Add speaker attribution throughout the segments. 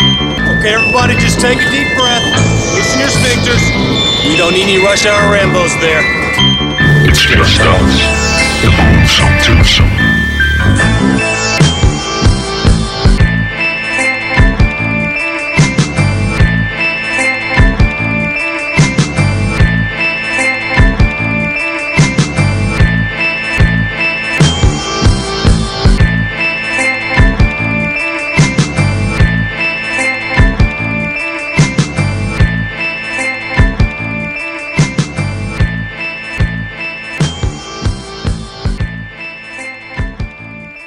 Speaker 1: Okay, everybody, just take a deep breath. Loosen your sphincters. We don't need any rush hour Rambo's there.
Speaker 2: It's just us. The gruesome twosome.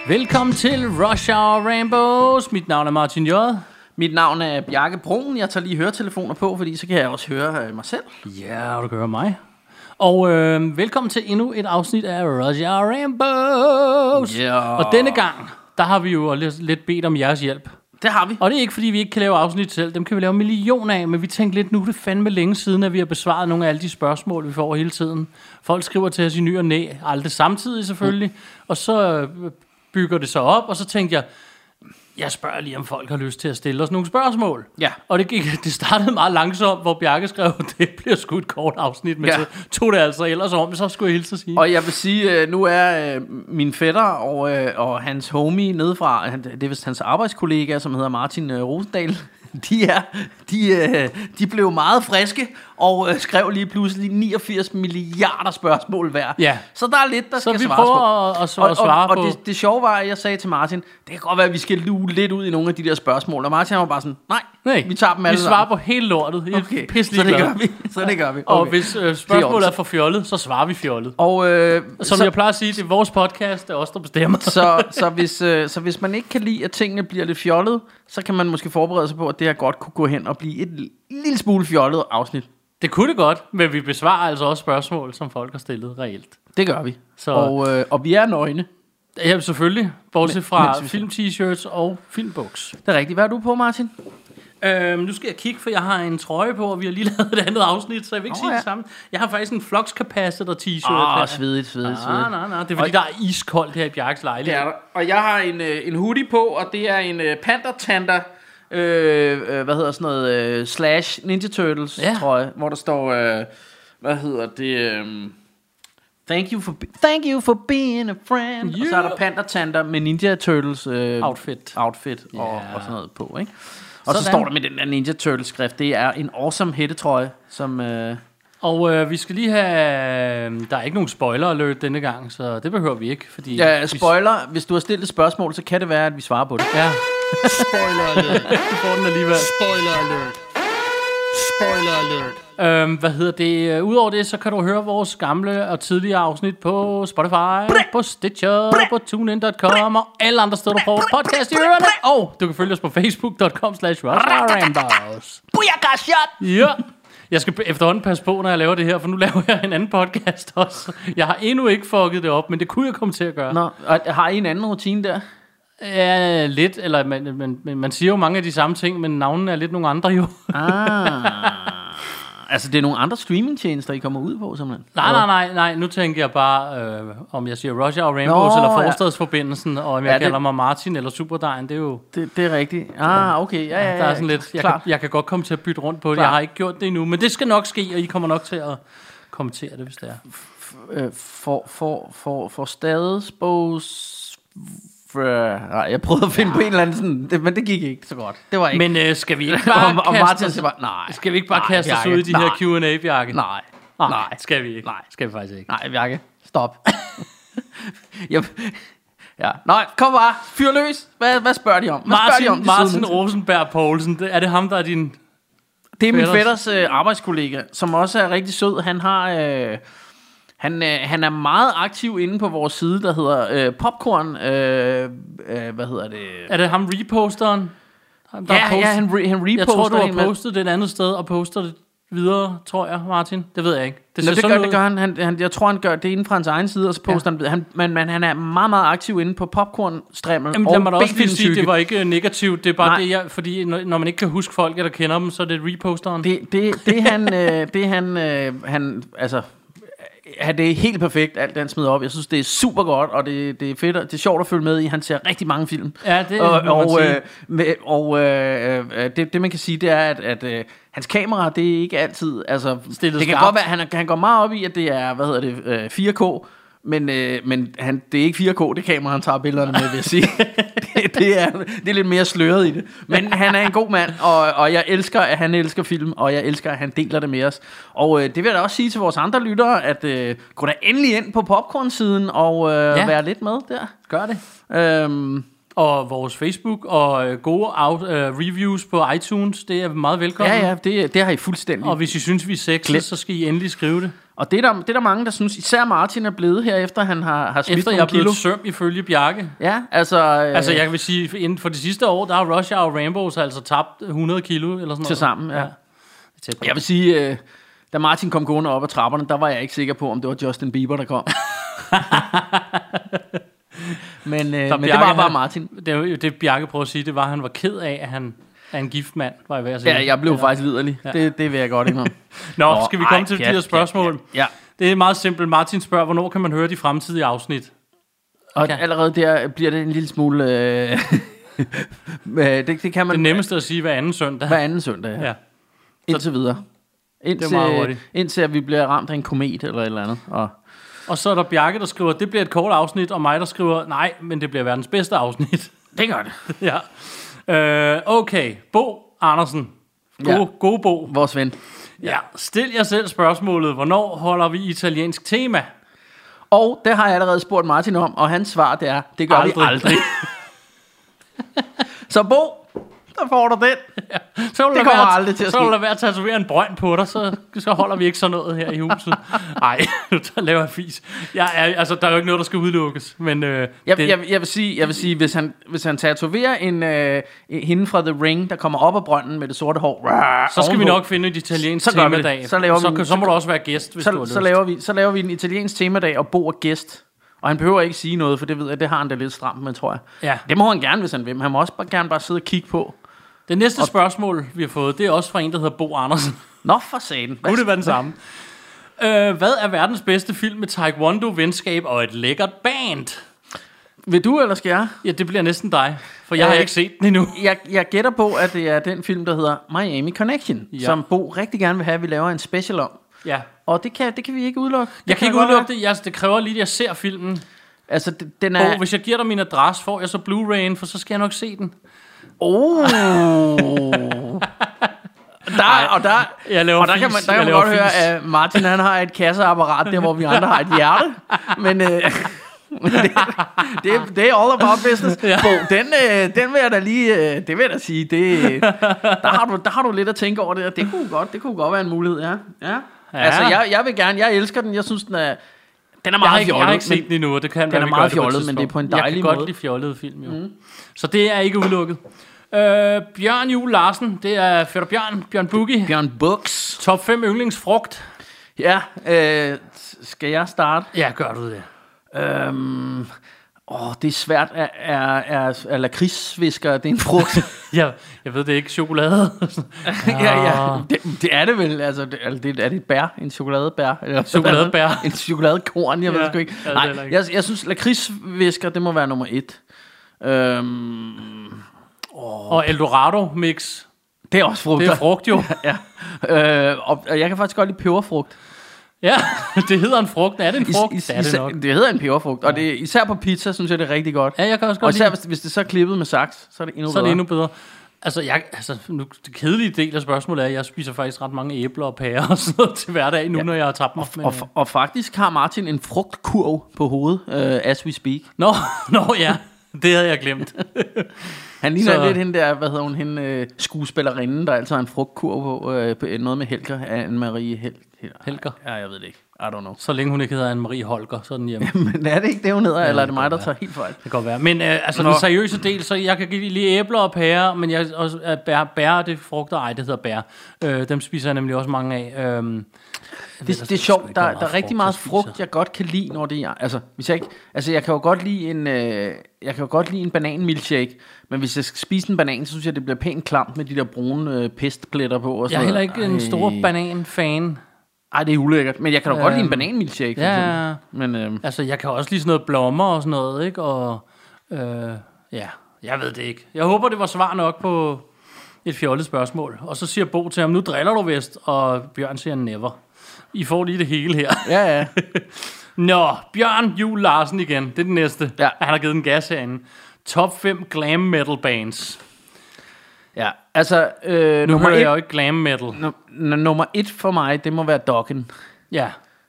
Speaker 3: Velkommen til Rush Hour Rambos. Mit navn er Martin J.
Speaker 4: Mit navn er Bjarke Broen. Jeg tager lige høretelefoner på, fordi så kan jeg også høre øh, mig selv.
Speaker 3: Ja, og du kan høre mig. Og øh, velkommen til endnu et afsnit af Rush Hour Rambos.
Speaker 4: Ja.
Speaker 3: Og denne gang, der har vi jo lidt lidt bedt om jeres hjælp.
Speaker 4: Det har vi.
Speaker 3: Og det er ikke, fordi vi ikke kan lave afsnit selv. Dem kan vi lave millioner af, men vi tænkte lidt nu, er det fandme længe siden, at vi har besvaret nogle af alle de spørgsmål, vi får hele tiden. Folk skriver til os i ny og næ, aldrig samtidig selvfølgelig, mm. og så øh, bygger det sig op, og så tænkte jeg, jeg spørger lige, om folk har lyst til at stille os nogle spørgsmål.
Speaker 4: Ja.
Speaker 3: Og det, gik, det startede meget langsomt, hvor Bjarke skrev, det bliver sgu et kort afsnit, men ja.
Speaker 4: Ja.
Speaker 3: så tog det altså ellers om, så skulle jeg hilse at sige.
Speaker 4: Og jeg vil sige, øh, nu er øh, min fætter og, øh, og hans homie nedefra, han- det er vist hans arbejdskollega, som hedder Martin øh, Rosendal, de, er, de, øh, de blev meget friske og øh, skrev lige pludselig 89 milliarder spørgsmål hver.
Speaker 3: Ja.
Speaker 4: Så der er lidt, der
Speaker 3: så
Speaker 4: skal
Speaker 3: vi
Speaker 4: svares på.
Speaker 3: prøver at, at, at,
Speaker 4: og,
Speaker 3: at svare
Speaker 4: og,
Speaker 3: på...
Speaker 4: og det, det sjove var, at jeg sagde til Martin, det kan godt være, at vi skal luge lidt ud i nogle af de der spørgsmål. Og Martin han var bare sådan, nej,
Speaker 3: Nej,
Speaker 4: vi tager dem alle
Speaker 3: Vi svarer på hele lortet. Jeg er
Speaker 4: Okay,
Speaker 3: pisselig
Speaker 4: så det
Speaker 3: glad.
Speaker 4: gør vi. Så det gør vi.
Speaker 3: Og
Speaker 4: Okay.
Speaker 3: hvis øh,
Speaker 4: Det
Speaker 3: spørgsmålet
Speaker 4: er
Speaker 3: er for fjollet, så svarer vi fjollet.
Speaker 4: Og øh,
Speaker 3: Som så,
Speaker 4: så,
Speaker 3: jeg plejer at sige, det er vores podcast, det er os, der bestemmer.
Speaker 4: så, så, hvis, øh, så hvis man ikke kan lide, at tingene bliver lidt fjollede, så kan man måske forberede sig på, at det her godt kunne gå hen og blive et l- lille smule fjollet afsnit.
Speaker 3: Det kunne det godt, men vi besvarer altså også spørgsmål, som folk har stillet reelt.
Speaker 4: Det gør vi.
Speaker 3: Så-
Speaker 4: Så. Og, øh, og vi er nøgne.
Speaker 3: Ja, selvfølgelig. Bortset
Speaker 4: men
Speaker 3: fra
Speaker 4: synes jeg-
Speaker 3: film-t-shirts og filmbuks.
Speaker 4: Det er rigtigt. Hvad er du på, Martin?
Speaker 3: Øhm, nu skal jeg kigge, for jeg har en trøje på, og vi har lige lavet et andet afsnit, så jeg vil ikke
Speaker 4: Nå,
Speaker 3: oh, sige ja. Ah,
Speaker 4: ja.
Speaker 3: det samme. Jeg har faktisk en Flux Capacitor t-shirt.
Speaker 4: Åh,
Speaker 3: her.
Speaker 4: oh, svedigt, svedigt, svedigt.
Speaker 3: Nej, nej, nej. Det er fordi, der er iskoldt her i Bjarkes
Speaker 4: Det
Speaker 3: lejlighed.
Speaker 4: er der. Og jeg har en, øh, en hoodie på, og det er en øh, Panther Tanter, øh, øh, hvad hedder sådan noget, øh, slash Ninja Turtles
Speaker 3: Ja.
Speaker 4: ja. trøje, hvor der står, øh, hvad hedder det, øh, thank, you for be- thank you for being a friend. Yeah. Og så er
Speaker 3: Yeah.
Speaker 4: der Panther Tanter med Ninja Turtles øh,
Speaker 3: Outfit.
Speaker 4: outfit og,
Speaker 3: Ja.
Speaker 4: og sådan noget på, ikke? Og sådan.
Speaker 3: Sådan.
Speaker 4: så står der med den der Ninja Turtles skrift, det er en awesome hættetrøje, som... Øh,
Speaker 3: Og øh, vi skal lige have... øhm, Der er ikke nogen spoiler alert denne gang, så det behøver vi ikke, fordi...
Speaker 4: ja,
Speaker 3: vi-
Speaker 4: spoiler, hvis du har stillet et spørgsmål, så kan det være, at vi svarer på det.
Speaker 3: Ja,
Speaker 5: Spoiler alert.
Speaker 3: vi får den alligevel.
Speaker 5: Spoiler alert. Spoiler alert.
Speaker 3: Øhm, hvad hedder det? Øh, Udover det, så kan du høre vores gamle og tidligere afsnit på Spotify, på Stitcher, på TuneIn.com og alle andre steder, du får podcast i ørerne. Og du kan følge os på Facebook.com slash Rambos. Ja. Jeg skal efterhånden passe på, når jeg laver det her, for nu laver jeg en anden podcast også. Jeg har endnu ikke fucket det op, men det kunne jeg komme til at gøre.
Speaker 4: Nå, og har I en anden rutine der?
Speaker 3: Ja, lidt, eller man, man, man, man siger jo mange af de samme ting, men navnene er lidt nogle andre jo.
Speaker 4: Altså, det er nogle andre streamingtjenester, I kommer ud på, simpelthen.
Speaker 3: Nej, nej, nej, nej. Nu tænker jeg bare, øh, om jeg siger Roger og Rainbows
Speaker 4: Nå,
Speaker 3: eller
Speaker 4: ja.
Speaker 3: Forstadsforbindelsen, og om jeg
Speaker 4: Ja,
Speaker 3: ja,
Speaker 4: det-
Speaker 3: kalder mig Martin eller Superdejen, det er jo...
Speaker 4: Det, det er rigtigt. Ah, okay. Ja, ja, ja.
Speaker 3: Der er sådan lidt, jeg, kan,
Speaker 4: Klart.
Speaker 3: jeg kan godt komme til at bytte rundt på det.
Speaker 4: Klart.
Speaker 3: Jeg har ikke gjort det endnu, men det skal nok ske, og I kommer nok til at kommentere det, hvis det er.
Speaker 4: Øh, For, for, for, for stadesbogs... Nej, jeg prøvede at finde på en eller anden sådan... Det, men det gik ikke så godt. Det var ikke...
Speaker 3: Men øh, skal vi ikke bare
Speaker 4: og, og
Speaker 3: kaste,
Speaker 4: Martin
Speaker 3: os,
Speaker 4: så bare... Nej.
Speaker 3: skal vi ikke bare
Speaker 4: nej,
Speaker 3: kaste os
Speaker 4: Bjarke,
Speaker 3: ud i de
Speaker 4: nej,
Speaker 3: her Q&A-bjarke?
Speaker 4: Nej.
Speaker 3: nej, skal vi ikke.
Speaker 4: Nej.
Speaker 3: skal vi faktisk ikke.
Speaker 4: Nej, Bjarke. Stop. jeg, ja. Nej, kom bare. Fyr løs. Hvad, hvad spørger de om? Hvad spørger de om,
Speaker 3: Martin,
Speaker 4: de
Speaker 3: Martin
Speaker 4: søde
Speaker 3: Rosenberg Poulsen, det- er det ham, der er din...
Speaker 4: Det er min
Speaker 3: Fætters.
Speaker 4: fætters øh, arbejdskollega, som også er rigtig sød. Han har... Øh, han, øh, han er meget aktiv inde på vores side, der hedder øh, Popcorn. Øh, øh, hvad hedder det?
Speaker 3: Er det ham reposteren? Ham, der
Speaker 4: Ja,
Speaker 3: har postet-
Speaker 4: ja, han, re, han reposter.
Speaker 3: Jeg tror, du
Speaker 4: en
Speaker 3: har
Speaker 4: masse-
Speaker 3: postet det et andet sted og poster det videre, tror jeg, Martin. Det ved jeg ikke. Det
Speaker 4: Nå, det, gør,
Speaker 3: sådan
Speaker 4: det
Speaker 3: ud.
Speaker 4: gør han. Han, han. Jeg tror, han gør det inden fra hans egen side, og så poster ja. han, han men, men han er meget, meget aktiv inde på popcorn stremmel
Speaker 3: Jamen, lad
Speaker 4: og
Speaker 3: mig da også lige sige,
Speaker 4: B-filmsyke.
Speaker 3: det var ikke øh, negativt. Det er bare Nej.
Speaker 4: Nej.
Speaker 3: det, jeg... Fordi når, når man ikke kan huske folk, eller kender dem, så er det reposteren. Det,
Speaker 4: Det, det, det han, øh, det han, øh, han, altså, Ja, det er helt perfekt, alt det, han smider op. Jeg synes, det er super godt, og det, det er fedt, og det er sjovt at følge med i. Han ser rigtig mange film.
Speaker 3: Ja, det
Speaker 4: og,
Speaker 3: må man
Speaker 4: og,
Speaker 3: sige.
Speaker 4: øh, med- og øh, øh, det, det, man kan sige, det er, at, at øh, hans kamera, det er ikke altid... Altså,
Speaker 3: Stillet
Speaker 4: det kan
Speaker 3: skarpt.
Speaker 4: godt være, han, er- han går meget op i, at det er, hvad hedder det, øh, 4K, men, øh, men han, det er ikke 4K, det kamera, han tager billederne med, vil jeg sige. det, det, er, det er lidt mere sløret i det. Men han er en god mand, og, og jeg elsker, at han elsker film, og jeg elsker, at han deler det med os. Og øh, det vil jeg da også sige til vores andre lyttere, at øh, gå da endelig ind på popcorn-siden og øh,
Speaker 3: Ja.
Speaker 4: ja. være lidt med der.
Speaker 3: Gør det.
Speaker 4: Øhm,
Speaker 3: Og vores Facebook og øh, gode out, øh, reviews på iTunes, det er meget velkommen.
Speaker 4: ja, ja, det, det har I fuldstændig.
Speaker 3: Og hvis I synes, vi er sexede, så skal I endelig skrive det.
Speaker 4: Og det er, der, det er der mange, der synes, især Martin er blevet her, efter han har, har smidt
Speaker 3: Efter jeg
Speaker 4: nogle
Speaker 3: er
Speaker 4: kilo.
Speaker 3: blevet søm ifølge Bjarke.
Speaker 4: Ja, altså... Øh,
Speaker 3: Altså, jeg vil sige, inden for det sidste år, der har Russia og Rambo så altså tabt 100 kilo eller sådan noget.
Speaker 4: Til sammen, ja.
Speaker 3: Tæt på.
Speaker 4: Jeg vil sige, øh, da Martin kom gående op ad trapperne, der var jeg ikke sikker på, om det var Justin Bieber, der kom. men, øh, men det
Speaker 3: Bjarke,
Speaker 4: var bare
Speaker 3: han-
Speaker 4: Martin.
Speaker 3: Det, er jo det, Bjarke prøver at sige, det var, at han var ked af, at han er en gift mand, var jeg ved at sige.
Speaker 4: Ja, jeg blev faktisk liderlig. Ja. Det, det vil jeg godt indrømme.
Speaker 3: Nå,
Speaker 4: Nå,
Speaker 3: skal vi komme
Speaker 4: ej,
Speaker 3: til de
Speaker 4: pjat,
Speaker 3: her
Speaker 4: pjat,
Speaker 3: spørgsmål?
Speaker 4: ja.
Speaker 3: Det er meget simpelt. Martin spørger, hvornår kan man høre de fremtidige afsnit?
Speaker 4: Og
Speaker 3: Okay.
Speaker 4: okay. allerede der bliver det en lille smule... Øh, øh, det, det kan man
Speaker 3: Det nemmeste at sige hver anden søndag.
Speaker 4: hver anden søndag. Ja.
Speaker 3: Ja.
Speaker 4: Indtil videre. Indtil,
Speaker 3: meget hurtigt.
Speaker 4: indtil at vi bliver ramt af en komet eller et eller andet. Og,
Speaker 3: Og så er der Bjarke, der skriver, det bliver et kort afsnit, og mig, der skriver, nej, men det bliver verdens bedste afsnit.
Speaker 4: det gør det.
Speaker 3: ja. Øh, okay, Bo Andersen. God, ja.
Speaker 4: Ja.
Speaker 3: god Bo.
Speaker 4: Vores ven.
Speaker 3: Ja. Stil jer selv spørgsmålet, hvornår holder vi italiensk tema?
Speaker 4: Og det har jeg allerede spurgt Martin om, og hans svar det er, det gør vi aldrig. Så Bo, der får du den.
Speaker 3: Så vil
Speaker 4: Det
Speaker 3: der
Speaker 4: kommer
Speaker 3: være-
Speaker 4: aldrig til at
Speaker 3: Så vil
Speaker 4: ske.
Speaker 3: der være at tatovere en brønd på dig, så, så holder vi ikke sådan noget her i huset. Nej, der laver jeg fis. Jeg er, altså, der er jo ikke noget, der skal udelukkes. Men, øh,
Speaker 4: Jeg,
Speaker 3: det,
Speaker 4: jeg, jeg, vil sige, jeg vil sige, hvis han, hvis han tatoverer en, øh, hende fra The Ring, der kommer op af brønden med det sorte hår.
Speaker 3: så skal vi
Speaker 4: ovenpå,
Speaker 3: nok finde et italiensk
Speaker 4: Så gør vi det.
Speaker 3: temadag.
Speaker 4: Så laver vi
Speaker 3: så,
Speaker 4: en-
Speaker 3: kan- så, må du også være gæst, hvis du har
Speaker 4: Så,
Speaker 3: lyst.
Speaker 4: så, laver vi, så laver vi en italiensk temadag, og Bo er gæst. Og han behøver ikke sige noget, for det ved jeg, det har han da lidt stramt med, tror jeg.
Speaker 3: Ja.
Speaker 4: Det må han gerne, hvis han vil. men Han må også bare, gerne bare sidde og kigge på.
Speaker 3: Det næste spørgsmål, vi har fået, det er også fra en, der hedder Bo Andersen.
Speaker 4: Nå for satan. Hvad
Speaker 3: Kunne det være den samme? Øh, hvad er verdens bedste film med taekwondo, venskab og et lækkert band?
Speaker 4: Vil du, eller skal jeg?
Speaker 3: Ja, det bliver næsten dig, for jeg har
Speaker 4: Øh,
Speaker 3: ikke set den endnu.
Speaker 4: jeg, jeg gætter på, at det er den film, der hedder Miami Connection,
Speaker 3: Ja.
Speaker 4: ja. som Bo rigtig gerne vil have, at vi laver en special om.
Speaker 3: Ja.
Speaker 4: Og det kan, det kan vi ikke udelukke. Det
Speaker 3: Jeg kan ikke
Speaker 4: godt
Speaker 3: udelukke det. Jeg, det kræver lige, at jeg ser filmen.
Speaker 4: være. Altså, d- den
Speaker 3: Og
Speaker 4: er...
Speaker 3: hvis jeg giver dig min adresse, får jeg så Blu-ray'en, for så skal jeg nok se den.
Speaker 4: Oh. der, og der,
Speaker 3: Jeg laver
Speaker 4: og der
Speaker 3: fis.
Speaker 4: kan man, der
Speaker 3: jeg
Speaker 4: kan man
Speaker 3: laver
Speaker 4: godt
Speaker 3: fis.
Speaker 4: høre, at Martin han har et kasseapparat, der hvor vi andre har et hjerte. Men øh, det, det, det er all about business. Ja. Bo, den, øh, den vil jeg da lige, øh, det vil jeg da sige, det, der, har du, der har du lidt at tænke over det, og det kunne godt, det kunne godt være en mulighed, ja. ja. ja. Altså, jeg, jeg vil gerne, jeg elsker den, jeg synes, den er, den er
Speaker 3: Jeg har,
Speaker 4: meget
Speaker 3: ikke, jeg har ikke
Speaker 4: fjollet,
Speaker 3: set
Speaker 4: men
Speaker 3: den endnu, og det kan være,
Speaker 4: er
Speaker 3: vi
Speaker 4: meget
Speaker 3: gør på et
Speaker 4: fjollet, men det er på en
Speaker 3: tidspunkt. Jeg
Speaker 4: dejlig
Speaker 3: kan godt
Speaker 4: måde.
Speaker 3: lide fjollede film, jo. Mm. Så det er ikke udelukket. Øh, Bjørn Jul Larsen, det er Fætter Bjørn, Bjørn Boogie.
Speaker 4: Bjørn Books.
Speaker 3: Top 5 yndlingsfrugt.
Speaker 4: Ja, øh, skal jeg starte?
Speaker 3: Ja, gør du det.
Speaker 4: Øhm, åh, det er svært. Er, er, er, er lakridsvisker, det er en frugt?
Speaker 3: Jeg, jeg ved det ikke, chokolade.
Speaker 4: ja, ja. Det, det, er det vel. Altså, det, altså, det, er det et bær? En chokoladebær? Eller
Speaker 3: Chokoladebær.
Speaker 4: en chokoladekorn, jeg ja,
Speaker 3: Ja,
Speaker 4: ved sgu ikke.
Speaker 3: ja, det er heller
Speaker 4: Nej,
Speaker 3: ikke.
Speaker 4: jeg, jeg synes, lakridsvisker, det må være nummer et. Øhm,
Speaker 3: og Eldorado mix.
Speaker 4: det er også frugt.
Speaker 3: Det er frugt jo.
Speaker 4: ja. Øh, og, og jeg kan faktisk godt lide peberfrugt.
Speaker 3: Ja, det hedder en frugt. Er det en frugt? det er det
Speaker 4: især,
Speaker 3: nok.
Speaker 4: det hedder en peberfrugt, og det, især på pizza, synes jeg, det er rigtig godt.
Speaker 3: Ja, jeg kan også
Speaker 4: og
Speaker 3: godt
Speaker 4: især
Speaker 3: lide.
Speaker 4: hvis, hvis det så er klippet med saks, så er det endnu
Speaker 3: Så er det
Speaker 4: bedre.
Speaker 3: endnu bedre. Altså, jeg, altså nu, det kedelige del af spørgsmålet er, at jeg spiser faktisk ret mange æbler og pærer og sådan noget til hverdag nu, ja. når jeg har tabt mig. Men,
Speaker 4: Og,
Speaker 3: øh,
Speaker 4: og faktisk har Martin en frugtkurv på hovedet, uh, as we speak.
Speaker 3: Nå, nå ja, det havde jeg glemt.
Speaker 4: Han ligner
Speaker 3: Så-
Speaker 4: så... lidt hende der, hvad hedder hun, hende uh, skuespillerinde, der altid har en frugtkurv på, uh, på noget med Helger, Anne-Marie Hel Hel
Speaker 3: Helger.
Speaker 4: Ja, jeg ved det ikke. I don't know.
Speaker 3: Så længe hun ikke hedder Anne-Marie Holger, så er den hjemme.
Speaker 4: Men er det ikke det, hun hedder, ja, eller er det mig, der
Speaker 3: godt
Speaker 4: tager helt fejl?
Speaker 3: Det kan godt være. Men øh, altså, Nå.
Speaker 4: Nå.
Speaker 3: den seriøse del, så jeg kan give lige æbler og pærer, men jeg også, øh, bær, bær, det er frugter, ej, det hedder bær. Øh, dem spiser jeg nemlig også mange af. Øhm,
Speaker 4: Det, det er
Speaker 3: sgu
Speaker 4: sjovt,
Speaker 3: ikke, hvor
Speaker 4: der,
Speaker 3: meget
Speaker 4: der er rigtig
Speaker 3: frugt,
Speaker 4: meget
Speaker 3: jeg spiser.
Speaker 4: frugt, jeg godt kan lide, når det er... Altså, hvis jeg, ikke, altså jeg kan jo godt lide en, øh, jeg kan jo godt lide en bananmilkshake, men hvis jeg skal spise en banan, så synes jeg, det bliver pænt klamt med de der brune øh, pestpletter på. Og sådan
Speaker 3: jeg er heller
Speaker 4: noget.
Speaker 3: ikke en
Speaker 4: Ej.
Speaker 3: stor banan-fan.
Speaker 4: Ej, det er ulækkert, men jeg kan da godt lide en bananmilkshake. for
Speaker 3: ja,
Speaker 4: eksempel.
Speaker 3: ja.
Speaker 4: Men øhm,
Speaker 3: Altså, jeg kan også lide sådan noget blommer og sådan noget, ikke? Og øh, ja, jeg ved det ikke. Jeg håber, det var svar nok på et fjollet spørgsmål. Og så siger Bo til ham, nu driller du vist, og Bjørn siger never. I får lige det hele her.
Speaker 4: ja, ja.
Speaker 3: Nå, Bjørn Jul Larsen igen. Det er den næste.
Speaker 4: Ja.
Speaker 3: Han har givet en gas herinde. Top 5 glam metal bands.
Speaker 4: ja. Altså, øh,
Speaker 3: Nu
Speaker 4: nummer,
Speaker 3: hører
Speaker 4: et,
Speaker 3: jeg jo ikke glam metal.
Speaker 4: nu- nu- nummer et for mig, det må være Dokken.
Speaker 3: Ja.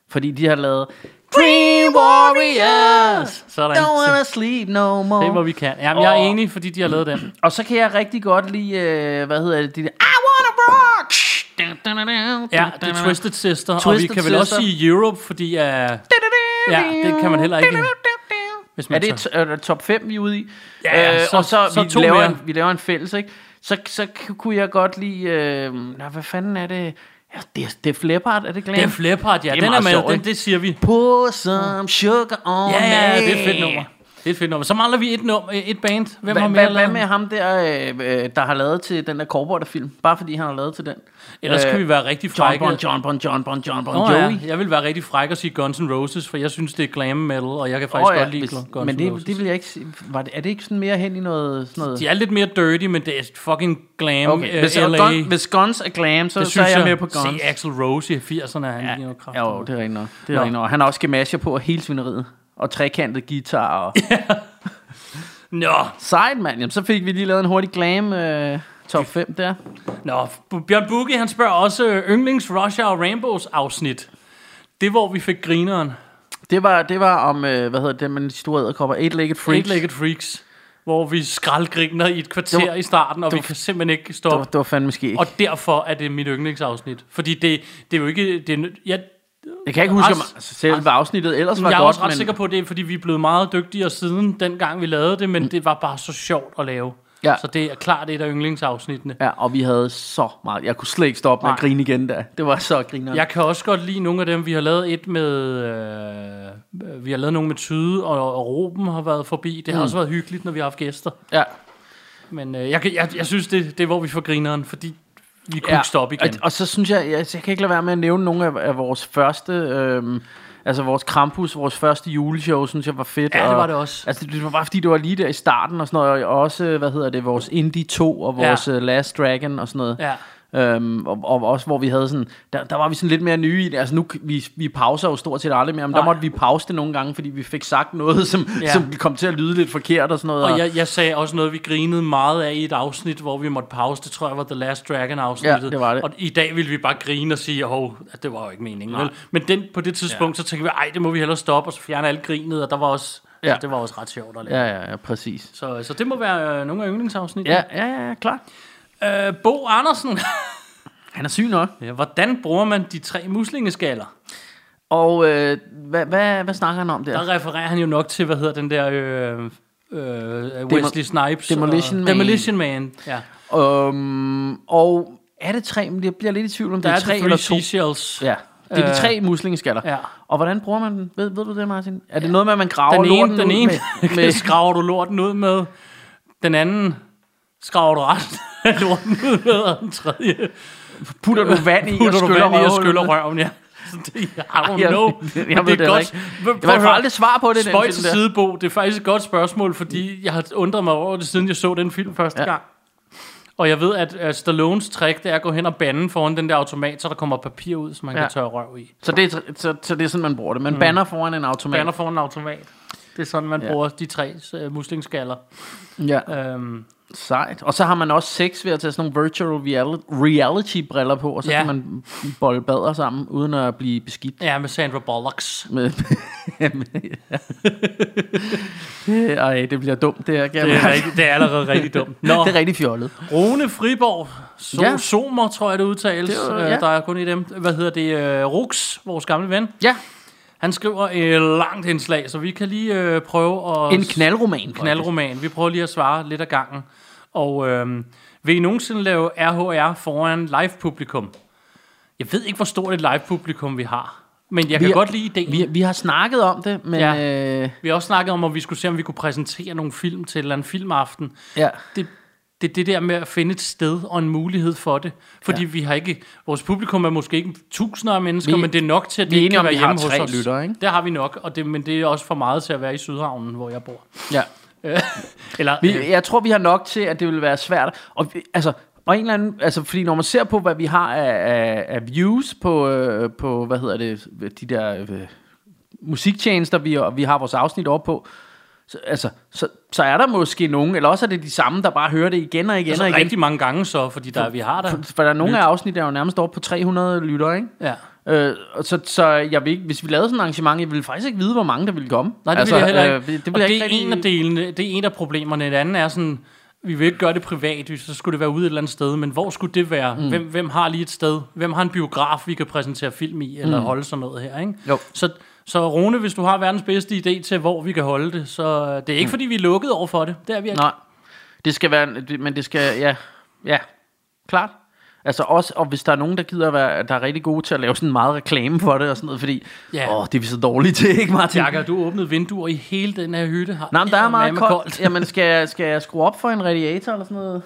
Speaker 4: Fordi de har lavet Dream Warriors,
Speaker 3: Sådan.
Speaker 4: don't wanna sleep no more.
Speaker 3: Det, hvor vi kan. Jamen, jeg er enig, fordi de har lavet den.
Speaker 4: Og så kan jeg rigtig godt lide, øh, hvad hedder det, de der, I wanna rock!
Speaker 3: Ja, det er Twisted Sister. Twisted og vi
Speaker 4: Twisted
Speaker 3: kan vel også
Speaker 4: Sister.
Speaker 3: sige Europe, fordi... Uh, ja, det kan man heller ikke... Hvis
Speaker 4: Ja,
Speaker 3: man
Speaker 4: det er
Speaker 3: tager-
Speaker 4: t- øh, top 5, vi er ude i. Øh,
Speaker 3: Ja, ja, så-
Speaker 4: og så,
Speaker 3: så
Speaker 4: vi,
Speaker 3: to
Speaker 4: laver
Speaker 3: mere.
Speaker 4: en, vi laver en fælles, ikke? Så, så k- kunne jeg godt lide... Øh, nå, hvad fanden er det? Ja, det er Def Leppard, er det glemt?
Speaker 3: Det er Flippard, ja.
Speaker 4: Det er
Speaker 3: Det er den er
Speaker 4: meget
Speaker 3: med,
Speaker 4: sjovt,
Speaker 3: den,
Speaker 4: ikke?
Speaker 3: det siger vi.
Speaker 4: Pour some sugar on
Speaker 3: Ja, ja,
Speaker 4: me.
Speaker 3: det er et fedt nummer. Det er et fedt nummer. Så mangler vi et, nummer, et band. Hvem har
Speaker 4: Hva,
Speaker 3: mere
Speaker 4: hva, hvad
Speaker 3: lavet?
Speaker 4: med ham der, øh, øh, der har lavet til den der Corporate-film? Bare fordi han har lavet til den.
Speaker 3: Ellers
Speaker 4: Øh,
Speaker 3: kan vi være rigtig
Speaker 4: John
Speaker 3: frække.
Speaker 4: Bon, John Bon, John Bon, John Bon,
Speaker 3: Nå,
Speaker 4: Joey.
Speaker 3: ja. Jeg vil være rigtig fræk og sige Guns N' Roses, for jeg synes, det er glam metal, og jeg kan faktisk
Speaker 4: Åh, ja,
Speaker 3: godt lide
Speaker 4: hvis-
Speaker 3: Guns N' Roses.
Speaker 4: men det, det vil jeg ikke sige. Var det, er det ikke sådan mere hen i noget... Sådan noget?
Speaker 3: De er lidt mere dirty, men det er øh, fucking glam
Speaker 4: Okay,
Speaker 3: okay.
Speaker 4: hvis,
Speaker 3: LA.
Speaker 4: Gun, hvis Guns er glam, så, så er jeg, med på Guns.
Speaker 3: Se Axel Rose i 80'erne, han ja. ligner kraft.
Speaker 4: Ja, jo, det er rigtigt nok. Det er
Speaker 3: Nå.
Speaker 4: rigtigt nok. Han har også gemasjer på og hele svineriet. Og trekantet guitar. Og...
Speaker 3: Nå,
Speaker 4: Sejt, mand. Jamen, så fik vi lige lavet en hurtig glam øh, top 5 der.
Speaker 3: Nå, B- Bjørn Bugge, han spørger også øh, yndlings Russia og Rambos afsnit. Det, hvor vi fik grineren.
Speaker 4: Det var, det var om, øh, hvad hedder det, med de store æderkopper. Eight-legged freaks.
Speaker 3: Freaks. Eight Freaks. Hvor vi skraldgriner i et kvarter
Speaker 4: Det var-
Speaker 3: i starten, og vi
Speaker 4: var-
Speaker 3: kan simpelthen ikke
Speaker 4: Det var,
Speaker 3: stoppe.
Speaker 4: det var fandme skæg.
Speaker 3: Og derfor er det mit yndlingsafsnit. Fordi det, det er jo ikke... Det er, nø- jeg,
Speaker 4: Jeg kan ikke huske, om
Speaker 3: Ars-
Speaker 4: altså, selve afsnittet ellers var
Speaker 3: jeg er
Speaker 4: godt,
Speaker 3: også ret
Speaker 4: men...
Speaker 3: sikker på, at det er, fordi vi er blevet meget dygtigere siden dengang, vi lavede det, men det var bare så sjovt at lave.
Speaker 4: Mm. Ja.
Speaker 3: Så det er klart et af yndlingsafsnittene.
Speaker 4: Ja, og vi havde så meget. Jeg kunne slet ikke stoppe med at
Speaker 3: Nej.
Speaker 4: grine igen der. Det var så griner.
Speaker 3: Jeg kan også godt lide nogle af dem. Vi har lavet et med... Øh, vi har lavet nogle med Tyde, og, og Ruben har været forbi. Det har mm. også været hyggeligt, når vi har haft gæster.
Speaker 4: Ja.
Speaker 3: Men øh, jeg, kan- jeg, jeg synes, det, det er, hvor vi får grineren, fordi vi kunne ja. ikke stoppe igen.
Speaker 4: Og, og så synes jeg, jeg, jeg kan ikke lade være med at nævne nogle af, af vores første, øhm, altså vores Krampus, vores første juleshow, synes jeg var fedt.
Speaker 3: Ja, det
Speaker 4: og-
Speaker 3: var det også.
Speaker 4: Altså det var bare fordi, det var lige der i starten og sådan noget, og også, hvad hedder det, vores Indie 2 og
Speaker 3: Ja.
Speaker 4: vores ja. Last Dragon og sådan noget.
Speaker 3: Ja.
Speaker 4: Øhm, og, og også hvor vi havde sådan der, der var vi sådan lidt mere nye i det Altså nu k- vi, vi pauser jo stort set aldrig mere Men der
Speaker 3: Nej.
Speaker 4: måtte vi pause det nogle gange Fordi vi fik sagt noget Som,
Speaker 3: Ja.
Speaker 4: ja. som kom til at lyde lidt forkert og sådan noget
Speaker 3: Og jeg, jeg sagde også noget, vi grinede meget af i et afsnit, hvor vi måtte pause. Det tror jeg var The Last Dragon-afsnittet.
Speaker 4: Ja, det var det.
Speaker 3: Og i dag ville vi bare grine og sige, hov, at det var jo ikke meningen. Vel? Men den, på det tidspunkt, ja. så tænkte vi, ej, det må vi hellere stoppe, og så fjerne alt grinet, og der var også, ja.
Speaker 4: Ja.
Speaker 3: altså, det var også ret sjovt at lave. Ja.
Speaker 4: ja, ja, ja, præcis
Speaker 3: Så, så det må være øh, nogle af yndlingsafsnittene.
Speaker 4: Ja, ja, ja, ja, klart
Speaker 3: Øh, Bo Andersen.
Speaker 4: Han er syg nok
Speaker 3: ja, hvordan bruger man de tre muslingeskaller?
Speaker 4: Og øh, hvad, hvad, hvad snakker han om der?
Speaker 3: Der refererer han jo nok til, hvad hedder den der... Øh, øh, Wesley Snipes
Speaker 4: Demolition
Speaker 3: og,
Speaker 4: Man.
Speaker 3: Demolition Man ja.
Speaker 4: Øhm, og er det tre? Men Jeg bliver lidt i tvivl om
Speaker 3: Der er
Speaker 4: det er tre
Speaker 3: The
Speaker 4: eller
Speaker 3: Three
Speaker 4: to.
Speaker 3: Seashells
Speaker 4: Ja, det er de
Speaker 3: Øh,
Speaker 4: tre muslingeskaller.
Speaker 3: ja.
Speaker 4: Og hvordan bruger man den? Ved, ved du det, Martin? Er det noget med, at man graver
Speaker 3: Den ene,
Speaker 4: lorten
Speaker 3: den
Speaker 4: ud
Speaker 3: ene
Speaker 4: med,
Speaker 3: med...
Speaker 4: med
Speaker 3: skraver du lorten ud med. Den anden skraver du resten af lorten ud med. Og den tredje
Speaker 4: putter du vand i
Speaker 3: putter
Speaker 4: og
Speaker 3: du
Speaker 4: skyller
Speaker 3: vand i og
Speaker 4: røvhullet?
Speaker 3: skyller røven, ja. Så det, I don't
Speaker 4: Jeg-
Speaker 3: know.
Speaker 4: jeg
Speaker 3: Men
Speaker 4: ved det heller ikke.
Speaker 3: Prøv at
Speaker 4: Jeg får
Speaker 3: høre.
Speaker 4: aldrig svar på det, den
Speaker 3: Spøj
Speaker 4: film
Speaker 3: til
Speaker 4: der.
Speaker 3: sidebo, det er faktisk et godt spørgsmål, fordi jeg har undret mig over det, siden jeg så den film første ja.
Speaker 4: Ja.
Speaker 3: gang. Og jeg ved, at uh, Stallones trick, det er at gå hen og bande foran den der automat, så der kommer papir ud, som man ja.
Speaker 4: Ja.
Speaker 3: kan tørre røv i.
Speaker 4: Så det, er, så, så det er sådan, man bruger det. Man banner foran en automat.
Speaker 3: Bander foran en automat. Det er sådan, man ja. bruger de tre uh, muslingsskaller.
Speaker 4: Ja,
Speaker 3: Um,
Speaker 4: sejt. Og så har man også sex ved at tage sådan nogle virtual reality- reality-briller på, og så
Speaker 3: Ja.
Speaker 4: ja. kan man bolle bader sammen, uden at blive beskidt.
Speaker 3: ja, med Sandra Bullocks.
Speaker 4: med, med Ej, det bliver dumt, det her. Det
Speaker 3: Det er, rigtig, det er allerede rigtig dumt. Nå,
Speaker 4: det er rigtig fjollet.
Speaker 3: Rune Friborg, so ja.
Speaker 4: Ja.
Speaker 3: Somer, tror jeg det udtales. Det
Speaker 4: Det er
Speaker 3: var,
Speaker 4: jo-
Speaker 3: ja.
Speaker 4: ja.
Speaker 3: Der er kun i dem. Hvad hedder det? Uh, Rux, vores gamle ven.
Speaker 4: Ja,
Speaker 3: Han skriver et langt indslag, så vi kan lige øh, prøve at...
Speaker 4: en knaldroman.
Speaker 3: knaldroman. Vi prøver lige at svare lidt ad gangen. Og øh, vil I nogensinde lave RHR foran live-publikum? Jeg ved ikke, hvor stort et live-publikum vi har. Men jeg kan
Speaker 4: Vi er-
Speaker 3: godt lide ideen.
Speaker 4: Vi,
Speaker 3: Vi,
Speaker 4: vi har snakket om det, men...
Speaker 3: Ja.
Speaker 4: Ja. Øh,
Speaker 3: vi har også snakket om, om vi skulle se, om vi kunne præsentere nogle film til en eller anden filmaften.
Speaker 4: ja.
Speaker 3: Det det er det der med at finde et sted og en mulighed for det. Fordi ja. vi har ikke, vores publikum er måske ikke tusinder af mennesker,
Speaker 4: Vi-
Speaker 3: men det er nok til, at
Speaker 4: vi
Speaker 3: det
Speaker 4: er
Speaker 3: ikke
Speaker 4: enige
Speaker 3: kan
Speaker 4: om,
Speaker 3: være
Speaker 4: vi har
Speaker 3: hjemme hos
Speaker 4: tre
Speaker 3: os.
Speaker 4: lyttere, ikke?
Speaker 3: Det har vi nok, og det, men det er også for meget til at være i Sydhavnen, hvor jeg bor.
Speaker 4: Ja.
Speaker 3: Eller, øh,
Speaker 4: Vi, jeg tror, vi har nok til, at det vil være svært. Og, vi- altså, og en eller anden, altså, fordi når man ser på, hvad vi har af, af, af views på, øh, på, hvad hedder det, de der øh, musiktjenester, vi, og vi har vores afsnit op på, så, altså, så, så er der måske nogen, eller også er det de samme, der bare hører det igen og igen
Speaker 3: altså,
Speaker 4: og igen.
Speaker 3: rigtig mange gange så, fordi der, vi har der.
Speaker 4: For der er nogle af afsnit, der er jo nærmest oppe på 300 lyttere, ikke?
Speaker 3: Ja.
Speaker 4: Øh, og så, så jeg vil ikke, hvis vi lavede sådan et arrangement, jeg ville faktisk ikke vide, hvor mange der ville komme.
Speaker 3: Nej, det altså, vil jeg heller ikke.
Speaker 4: Øh, det, det,
Speaker 3: og
Speaker 4: vil jeg
Speaker 3: det
Speaker 4: ikke
Speaker 3: er
Speaker 4: rigtig-
Speaker 3: en af delene, det er en af problemerne. Et andet er sådan, vi vil ikke gøre det privat, så skulle det være ude et eller andet sted, men hvor skulle det være? Mm. Hvem, hvem har lige et sted? Hvem har en biograf, vi kan præsentere film i, eller mm. holde sådan noget her, ikke?
Speaker 4: Jo.
Speaker 3: Så, så Rune, hvis du har verdens bedste idé til, hvor vi kan holde det, så det er ikke, mm. fordi vi er lukket over for det. Det er vi ikke.
Speaker 4: Nej. Det skal være, en- det- men det skal, ja, ja, klart. Altså også, og hvis der er nogen, der gider at være, der er rigtig gode til at lave sådan meget reklame for det og sådan noget, fordi,
Speaker 3: Ja.
Speaker 4: ja. åh, det er vi så dårlige til, ikke Martin?
Speaker 3: Jakob, du åbnede vinduer i hele den her hytte her.
Speaker 4: Nej, men der er meget
Speaker 3: Eddermame
Speaker 4: koldt. koldt. Jamen, skal jeg, skal jeg skrue op for en radiator eller sådan noget?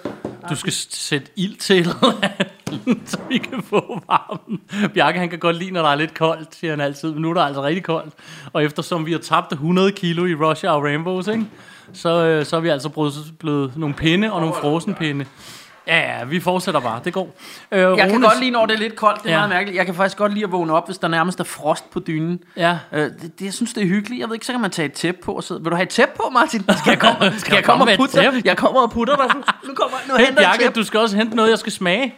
Speaker 3: Du skal s- sætte ild til, et eller andet, så vi kan få varmen. Bjarke, han kan godt lide, når der er lidt koldt, siger han altid. Men nu er der altså rigtig koldt. Og eftersom vi har tabt 100 kilo i Russia og Rainbows, ikke? Så, øh, så er vi altså blevet, blevet nogle pinde og nogle frosenpinde. Ja, ja, vi fortsætter bare. Det går. Øh,
Speaker 4: Jeg kan godt lide, når det er lidt koldt, det er
Speaker 3: Ja.
Speaker 4: ja. meget mærkeligt. Jeg kan faktisk godt lide at vågne op, hvis der nærmest er frost på dynen.
Speaker 3: Ja.
Speaker 4: Øh, det, det, jeg synes, det er hyggeligt. Jeg ved ikke, så kan man tage et tæppe på og sidde. Vil du have et tæppe på, Martin? Skal jeg komme, skal jeg komme
Speaker 3: komme med
Speaker 4: og
Speaker 3: et
Speaker 4: putte dig?
Speaker 3: tæppe?
Speaker 4: Jeg kommer og putter dig. Nu, kommer, nu
Speaker 3: Hent,
Speaker 4: henter jeg et
Speaker 3: Bjarke,
Speaker 4: tæppe.
Speaker 3: du skal også hente noget, jeg skal smage.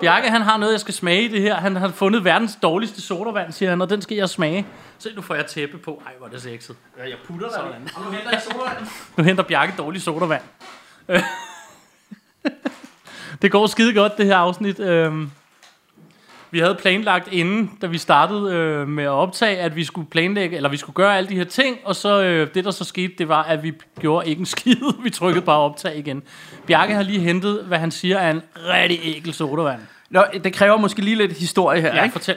Speaker 3: Bjarke, han har noget, jeg skal smage i det her. Han har fundet verdens dårligste sodavand, siger han, og den skal jeg smage. Se, nu får jeg tæppe på. Ej, hvor er det sexet. Ja, jeg putter dig. Sådan.
Speaker 4: Og nu henter jeg sodavand.
Speaker 3: Nu henter Bjarke dårlig sodavand. Øh. det går skide godt, det her afsnit. Øhm, Vi havde planlagt inden, da vi startede øh, med at optage, at vi skulle planlægge, eller vi skulle gøre alle de her ting, og så øh, det, der så skete, det var, at vi gjorde ikke en skid. vi trykkede bare optag igen. Bjarke har lige hentet, hvad han siger er en rigtig ækel sodavand.
Speaker 4: Nå, det kræver måske lige lidt historie her,
Speaker 3: Ja,
Speaker 4: ja, ikke?
Speaker 3: fortæl.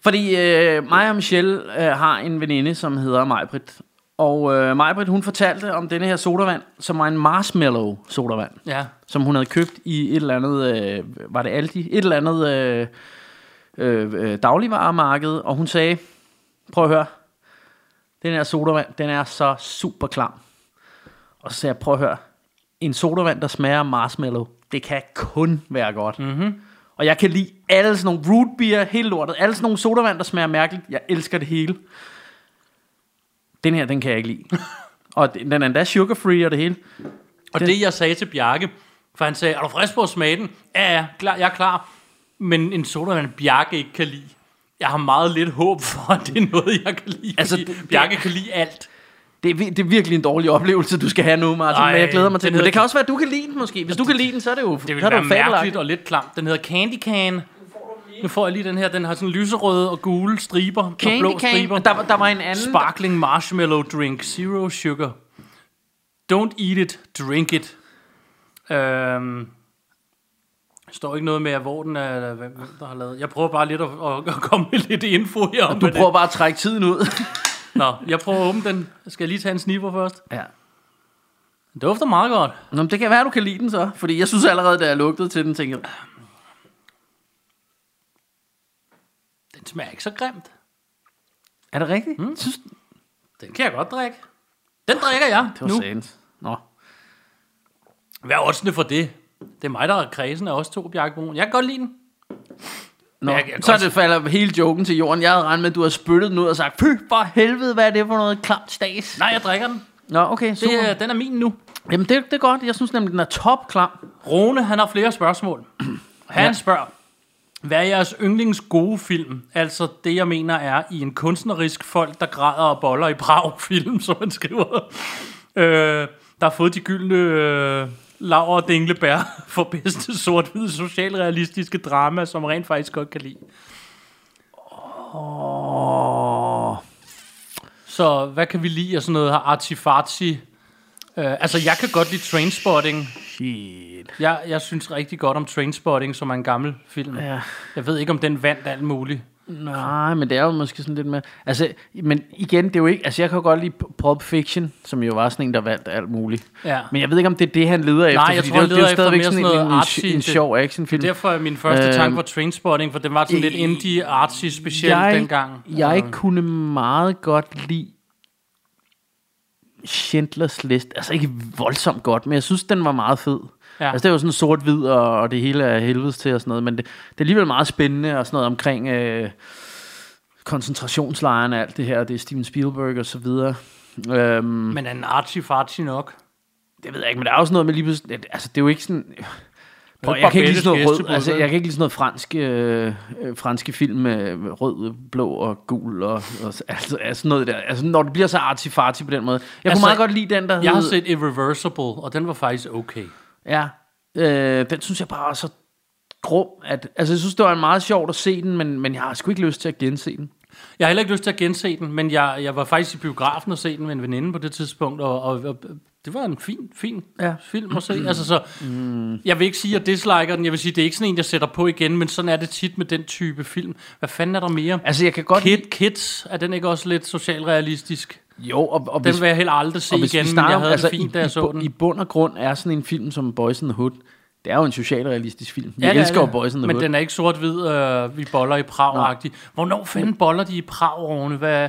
Speaker 4: Fordi øh, mig og Michelle øh, har en veninde, som hedder Majbrit. Og øh, Majbrit, hun fortalte om denne her sodavand, som var en marshmallow sodavand.
Speaker 3: Ja.
Speaker 4: Som hun havde købt i et eller andet, øh, var det Aldi? Et eller andet øh, øh, øh, dagligvaremarked. Og hun sagde, prøv at høre, den her sodavand, den er så super klam. Og så sagde jeg, prøv at høre, en sodavand, der smager af marshmallow, det kan kun være godt. Mm-hmm. Og jeg kan lide alle sådan nogle root beer, hele lortet, alle sådan nogle sodavand, der smager mærkeligt. Jeg elsker det hele. Den her, den kan jeg ikke lide. og den den er endda sugar free og det hele.
Speaker 3: Og det, jeg sagde til Bjarke, for han sagde, er du frisk på at smage den? Ja, ja, klar, jeg er klar. Men en sodavand, Bjarke ikke kan lide. Jeg har meget lidt håb for, at det er noget, jeg kan lide.
Speaker 4: Altså,
Speaker 3: Altså,
Speaker 4: det-
Speaker 3: Bjarke kan lide alt.
Speaker 4: Det er, vi- det er virkelig en dårlig oplevelse, du skal have nu, Martin,
Speaker 3: Ej,
Speaker 4: Ej, men jeg glæder mig til
Speaker 3: den
Speaker 4: det. Men
Speaker 3: hedder-
Speaker 4: det kan også være, at du kan lide den måske. Hvis du kan lide den, så er det jo
Speaker 3: Det
Speaker 4: så
Speaker 3: ville
Speaker 4: er det
Speaker 3: være
Speaker 4: jo fabelagtigt.
Speaker 3: mærkeligt og lidt klamt. Den hedder Candy Can. Nu får jeg lige den her. Den har sådan lyserøde og gule striber. og blå striber.
Speaker 4: Candy cane, der, var- der var en anden...
Speaker 3: Sparkling marshmallow drink. Zero sugar. Don't eat it. Drink it. Øhm, der står ikke noget med, hvor den er, eller hvem hvem der har lavet. Jeg prøver bare lidt at, at, at komme med lidt info her om,
Speaker 4: Du
Speaker 3: hvad det-
Speaker 4: prøver bare at trække tiden ud.
Speaker 3: Nå, jeg prøver at åbne den. Skal jeg lige tage en sniffer først?
Speaker 4: ja.
Speaker 3: Den dufter meget godt.
Speaker 4: Nå, men det kan være, du kan lide den så. Fordi jeg synes allerede, da jeg lugtede til den, tænkte jeg,
Speaker 3: Den smager ikke så grimt.
Speaker 4: er det rigtigt? Mm. Synes, det
Speaker 3: Den kan jeg godt drikke. Den drikker jeg
Speaker 4: var
Speaker 3: nu.
Speaker 4: sandt. Nå.
Speaker 3: Hvad oddsene for det? Det er mig, der er kredsen af os to, Bjarke Brun. Jeg kan godt lide den.
Speaker 4: Nå.
Speaker 3: jeg kan
Speaker 4: så
Speaker 3: godt-
Speaker 4: det falder hele joken til jorden. Jeg havde regnet med, at du havde spyttet den ud og sagt, fy for helvede, hvad er det for noget klamt stas?
Speaker 3: Nej, jeg drikker den.
Speaker 4: Nå, okay, super.
Speaker 3: Det,
Speaker 4: Det,
Speaker 3: er- den er min nu.
Speaker 4: Jamen, det, det er godt. Jeg synes nemlig, den er topklam.
Speaker 3: Rune, han har flere spørgsmål. Han
Speaker 4: Ja.
Speaker 3: spørger, hvad er jeres yndlings gode film? Altså det, jeg mener er i en kunstnerisk folk, der græder og boller i Prag film, som han skriver. Øh, der har fået de gyldne øh, laver og dinglebær for bedste sort-hvide socialrealistiske drama, som rent faktisk godt kan lide.
Speaker 4: Åh.
Speaker 3: Så hvad kan vi lide af sådan noget her artifarti? Øh, altså, jeg kan godt lide Trainspotting.
Speaker 4: Shit.
Speaker 3: Jeg, jeg synes rigtig godt om Trainspotting, som er en gammel film.
Speaker 4: Ja.
Speaker 3: Jeg ved ikke, om den vandt alt muligt.
Speaker 4: Nej, men det er jo måske sådan lidt mere... Altså, men igen, det er jo ikke... Altså, jeg kan jo godt lide Pulp Fiction, som jo var sådan en, der vandt alt muligt.
Speaker 3: Ja.
Speaker 4: Men jeg ved ikke, om det er det, han leder efter.
Speaker 3: jeg
Speaker 4: fordi
Speaker 3: tror,
Speaker 4: det, er
Speaker 3: han
Speaker 4: jo- det er
Speaker 3: leder
Speaker 4: jo
Speaker 3: efter
Speaker 4: stadigvæk
Speaker 3: mere
Speaker 4: sådan
Speaker 3: sådan
Speaker 4: en,
Speaker 3: noget
Speaker 4: en,
Speaker 3: artsy.
Speaker 4: en, en
Speaker 3: Det-
Speaker 4: sjov actionfilm.
Speaker 3: Derfor er min første øh, tanke
Speaker 4: Øhm,
Speaker 3: var Trainspotting, for den var sådan lidt
Speaker 4: øh,
Speaker 3: indie, artsy, specielt
Speaker 4: jeg,
Speaker 3: dengang. Øh.
Speaker 4: Jeg kunne meget godt lide Schindlers List. Altså ikke voldsomt godt, men jeg synes, den var meget fed.
Speaker 3: Ja.
Speaker 4: Ja. Altså det er jo sådan sort-hvid, og, og det hele er helvedes til og sådan noget, men det, det er alligevel meget spændende og sådan noget omkring øh, koncentrationslejren og alt det her, det er Steven Spielberg og så videre. Øhm,
Speaker 3: Men er den artsy-fartsy nok?
Speaker 4: det ved jeg ikke, men der er også noget med lige pludselig... at- Altså, det er jo ikke sådan... Prøv,
Speaker 3: er
Speaker 4: jeg kan ikke lide sådan noget
Speaker 3: Barbettes
Speaker 4: rød, altså,
Speaker 3: gæstebud,
Speaker 4: jeg kan ikke lide sådan noget fransk, øh, øh, franske film med rød, blå og gul og, og s- altså, altså noget der. Altså, når det bliver så artifarti på den måde. Jeg altså,
Speaker 3: Altså,
Speaker 4: kunne meget godt lide den, der
Speaker 3: Jeg har
Speaker 4: hed-
Speaker 3: set Irreversible, og den var faktisk okay.
Speaker 4: Ja, øh, den synes jeg bare er så grum. At, altså, jeg synes, det var meget sjovt at se den, men, men jeg har sgu ikke lyst til at gense den.
Speaker 3: Jeg har heller ikke lyst til at gense den, men jeg, jeg var faktisk i biografen og se den med en veninde på det tidspunkt, og, og, og det var en fin, fin ja.
Speaker 4: Ja. Mm.
Speaker 3: film at se. Altså, så, jeg vil ikke sige, at jeg disliker den. Jeg vil sige, at det er ikke sådan en, jeg sætter på igen, men sådan er det tit med den type film. Hvad fanden er der mere?
Speaker 4: Altså, jeg kan godt
Speaker 3: Kid, Kids, er den ikke også lidt socialrealistisk?
Speaker 4: Jo, og, og
Speaker 3: Den vil jeg helt aldrig se
Speaker 4: og hvis
Speaker 3: igen,
Speaker 4: vi
Speaker 3: men jeg
Speaker 4: snakker om-
Speaker 3: havde altså, det
Speaker 4: i,
Speaker 3: fint, da jeg
Speaker 4: i,
Speaker 3: så
Speaker 4: bu-
Speaker 3: den.
Speaker 4: I bund og grund er sådan en film som Boys in the Hood, det er jo en socialrealistisk film. Jeg
Speaker 3: det er
Speaker 4: elsker jo
Speaker 3: det.
Speaker 4: Boys in the
Speaker 3: Men
Speaker 4: Hood.
Speaker 3: den er ikke sort-hvid, øh, vi boller i prag -agtig. Hvornår fanden boller de i prag -årene? Hvad?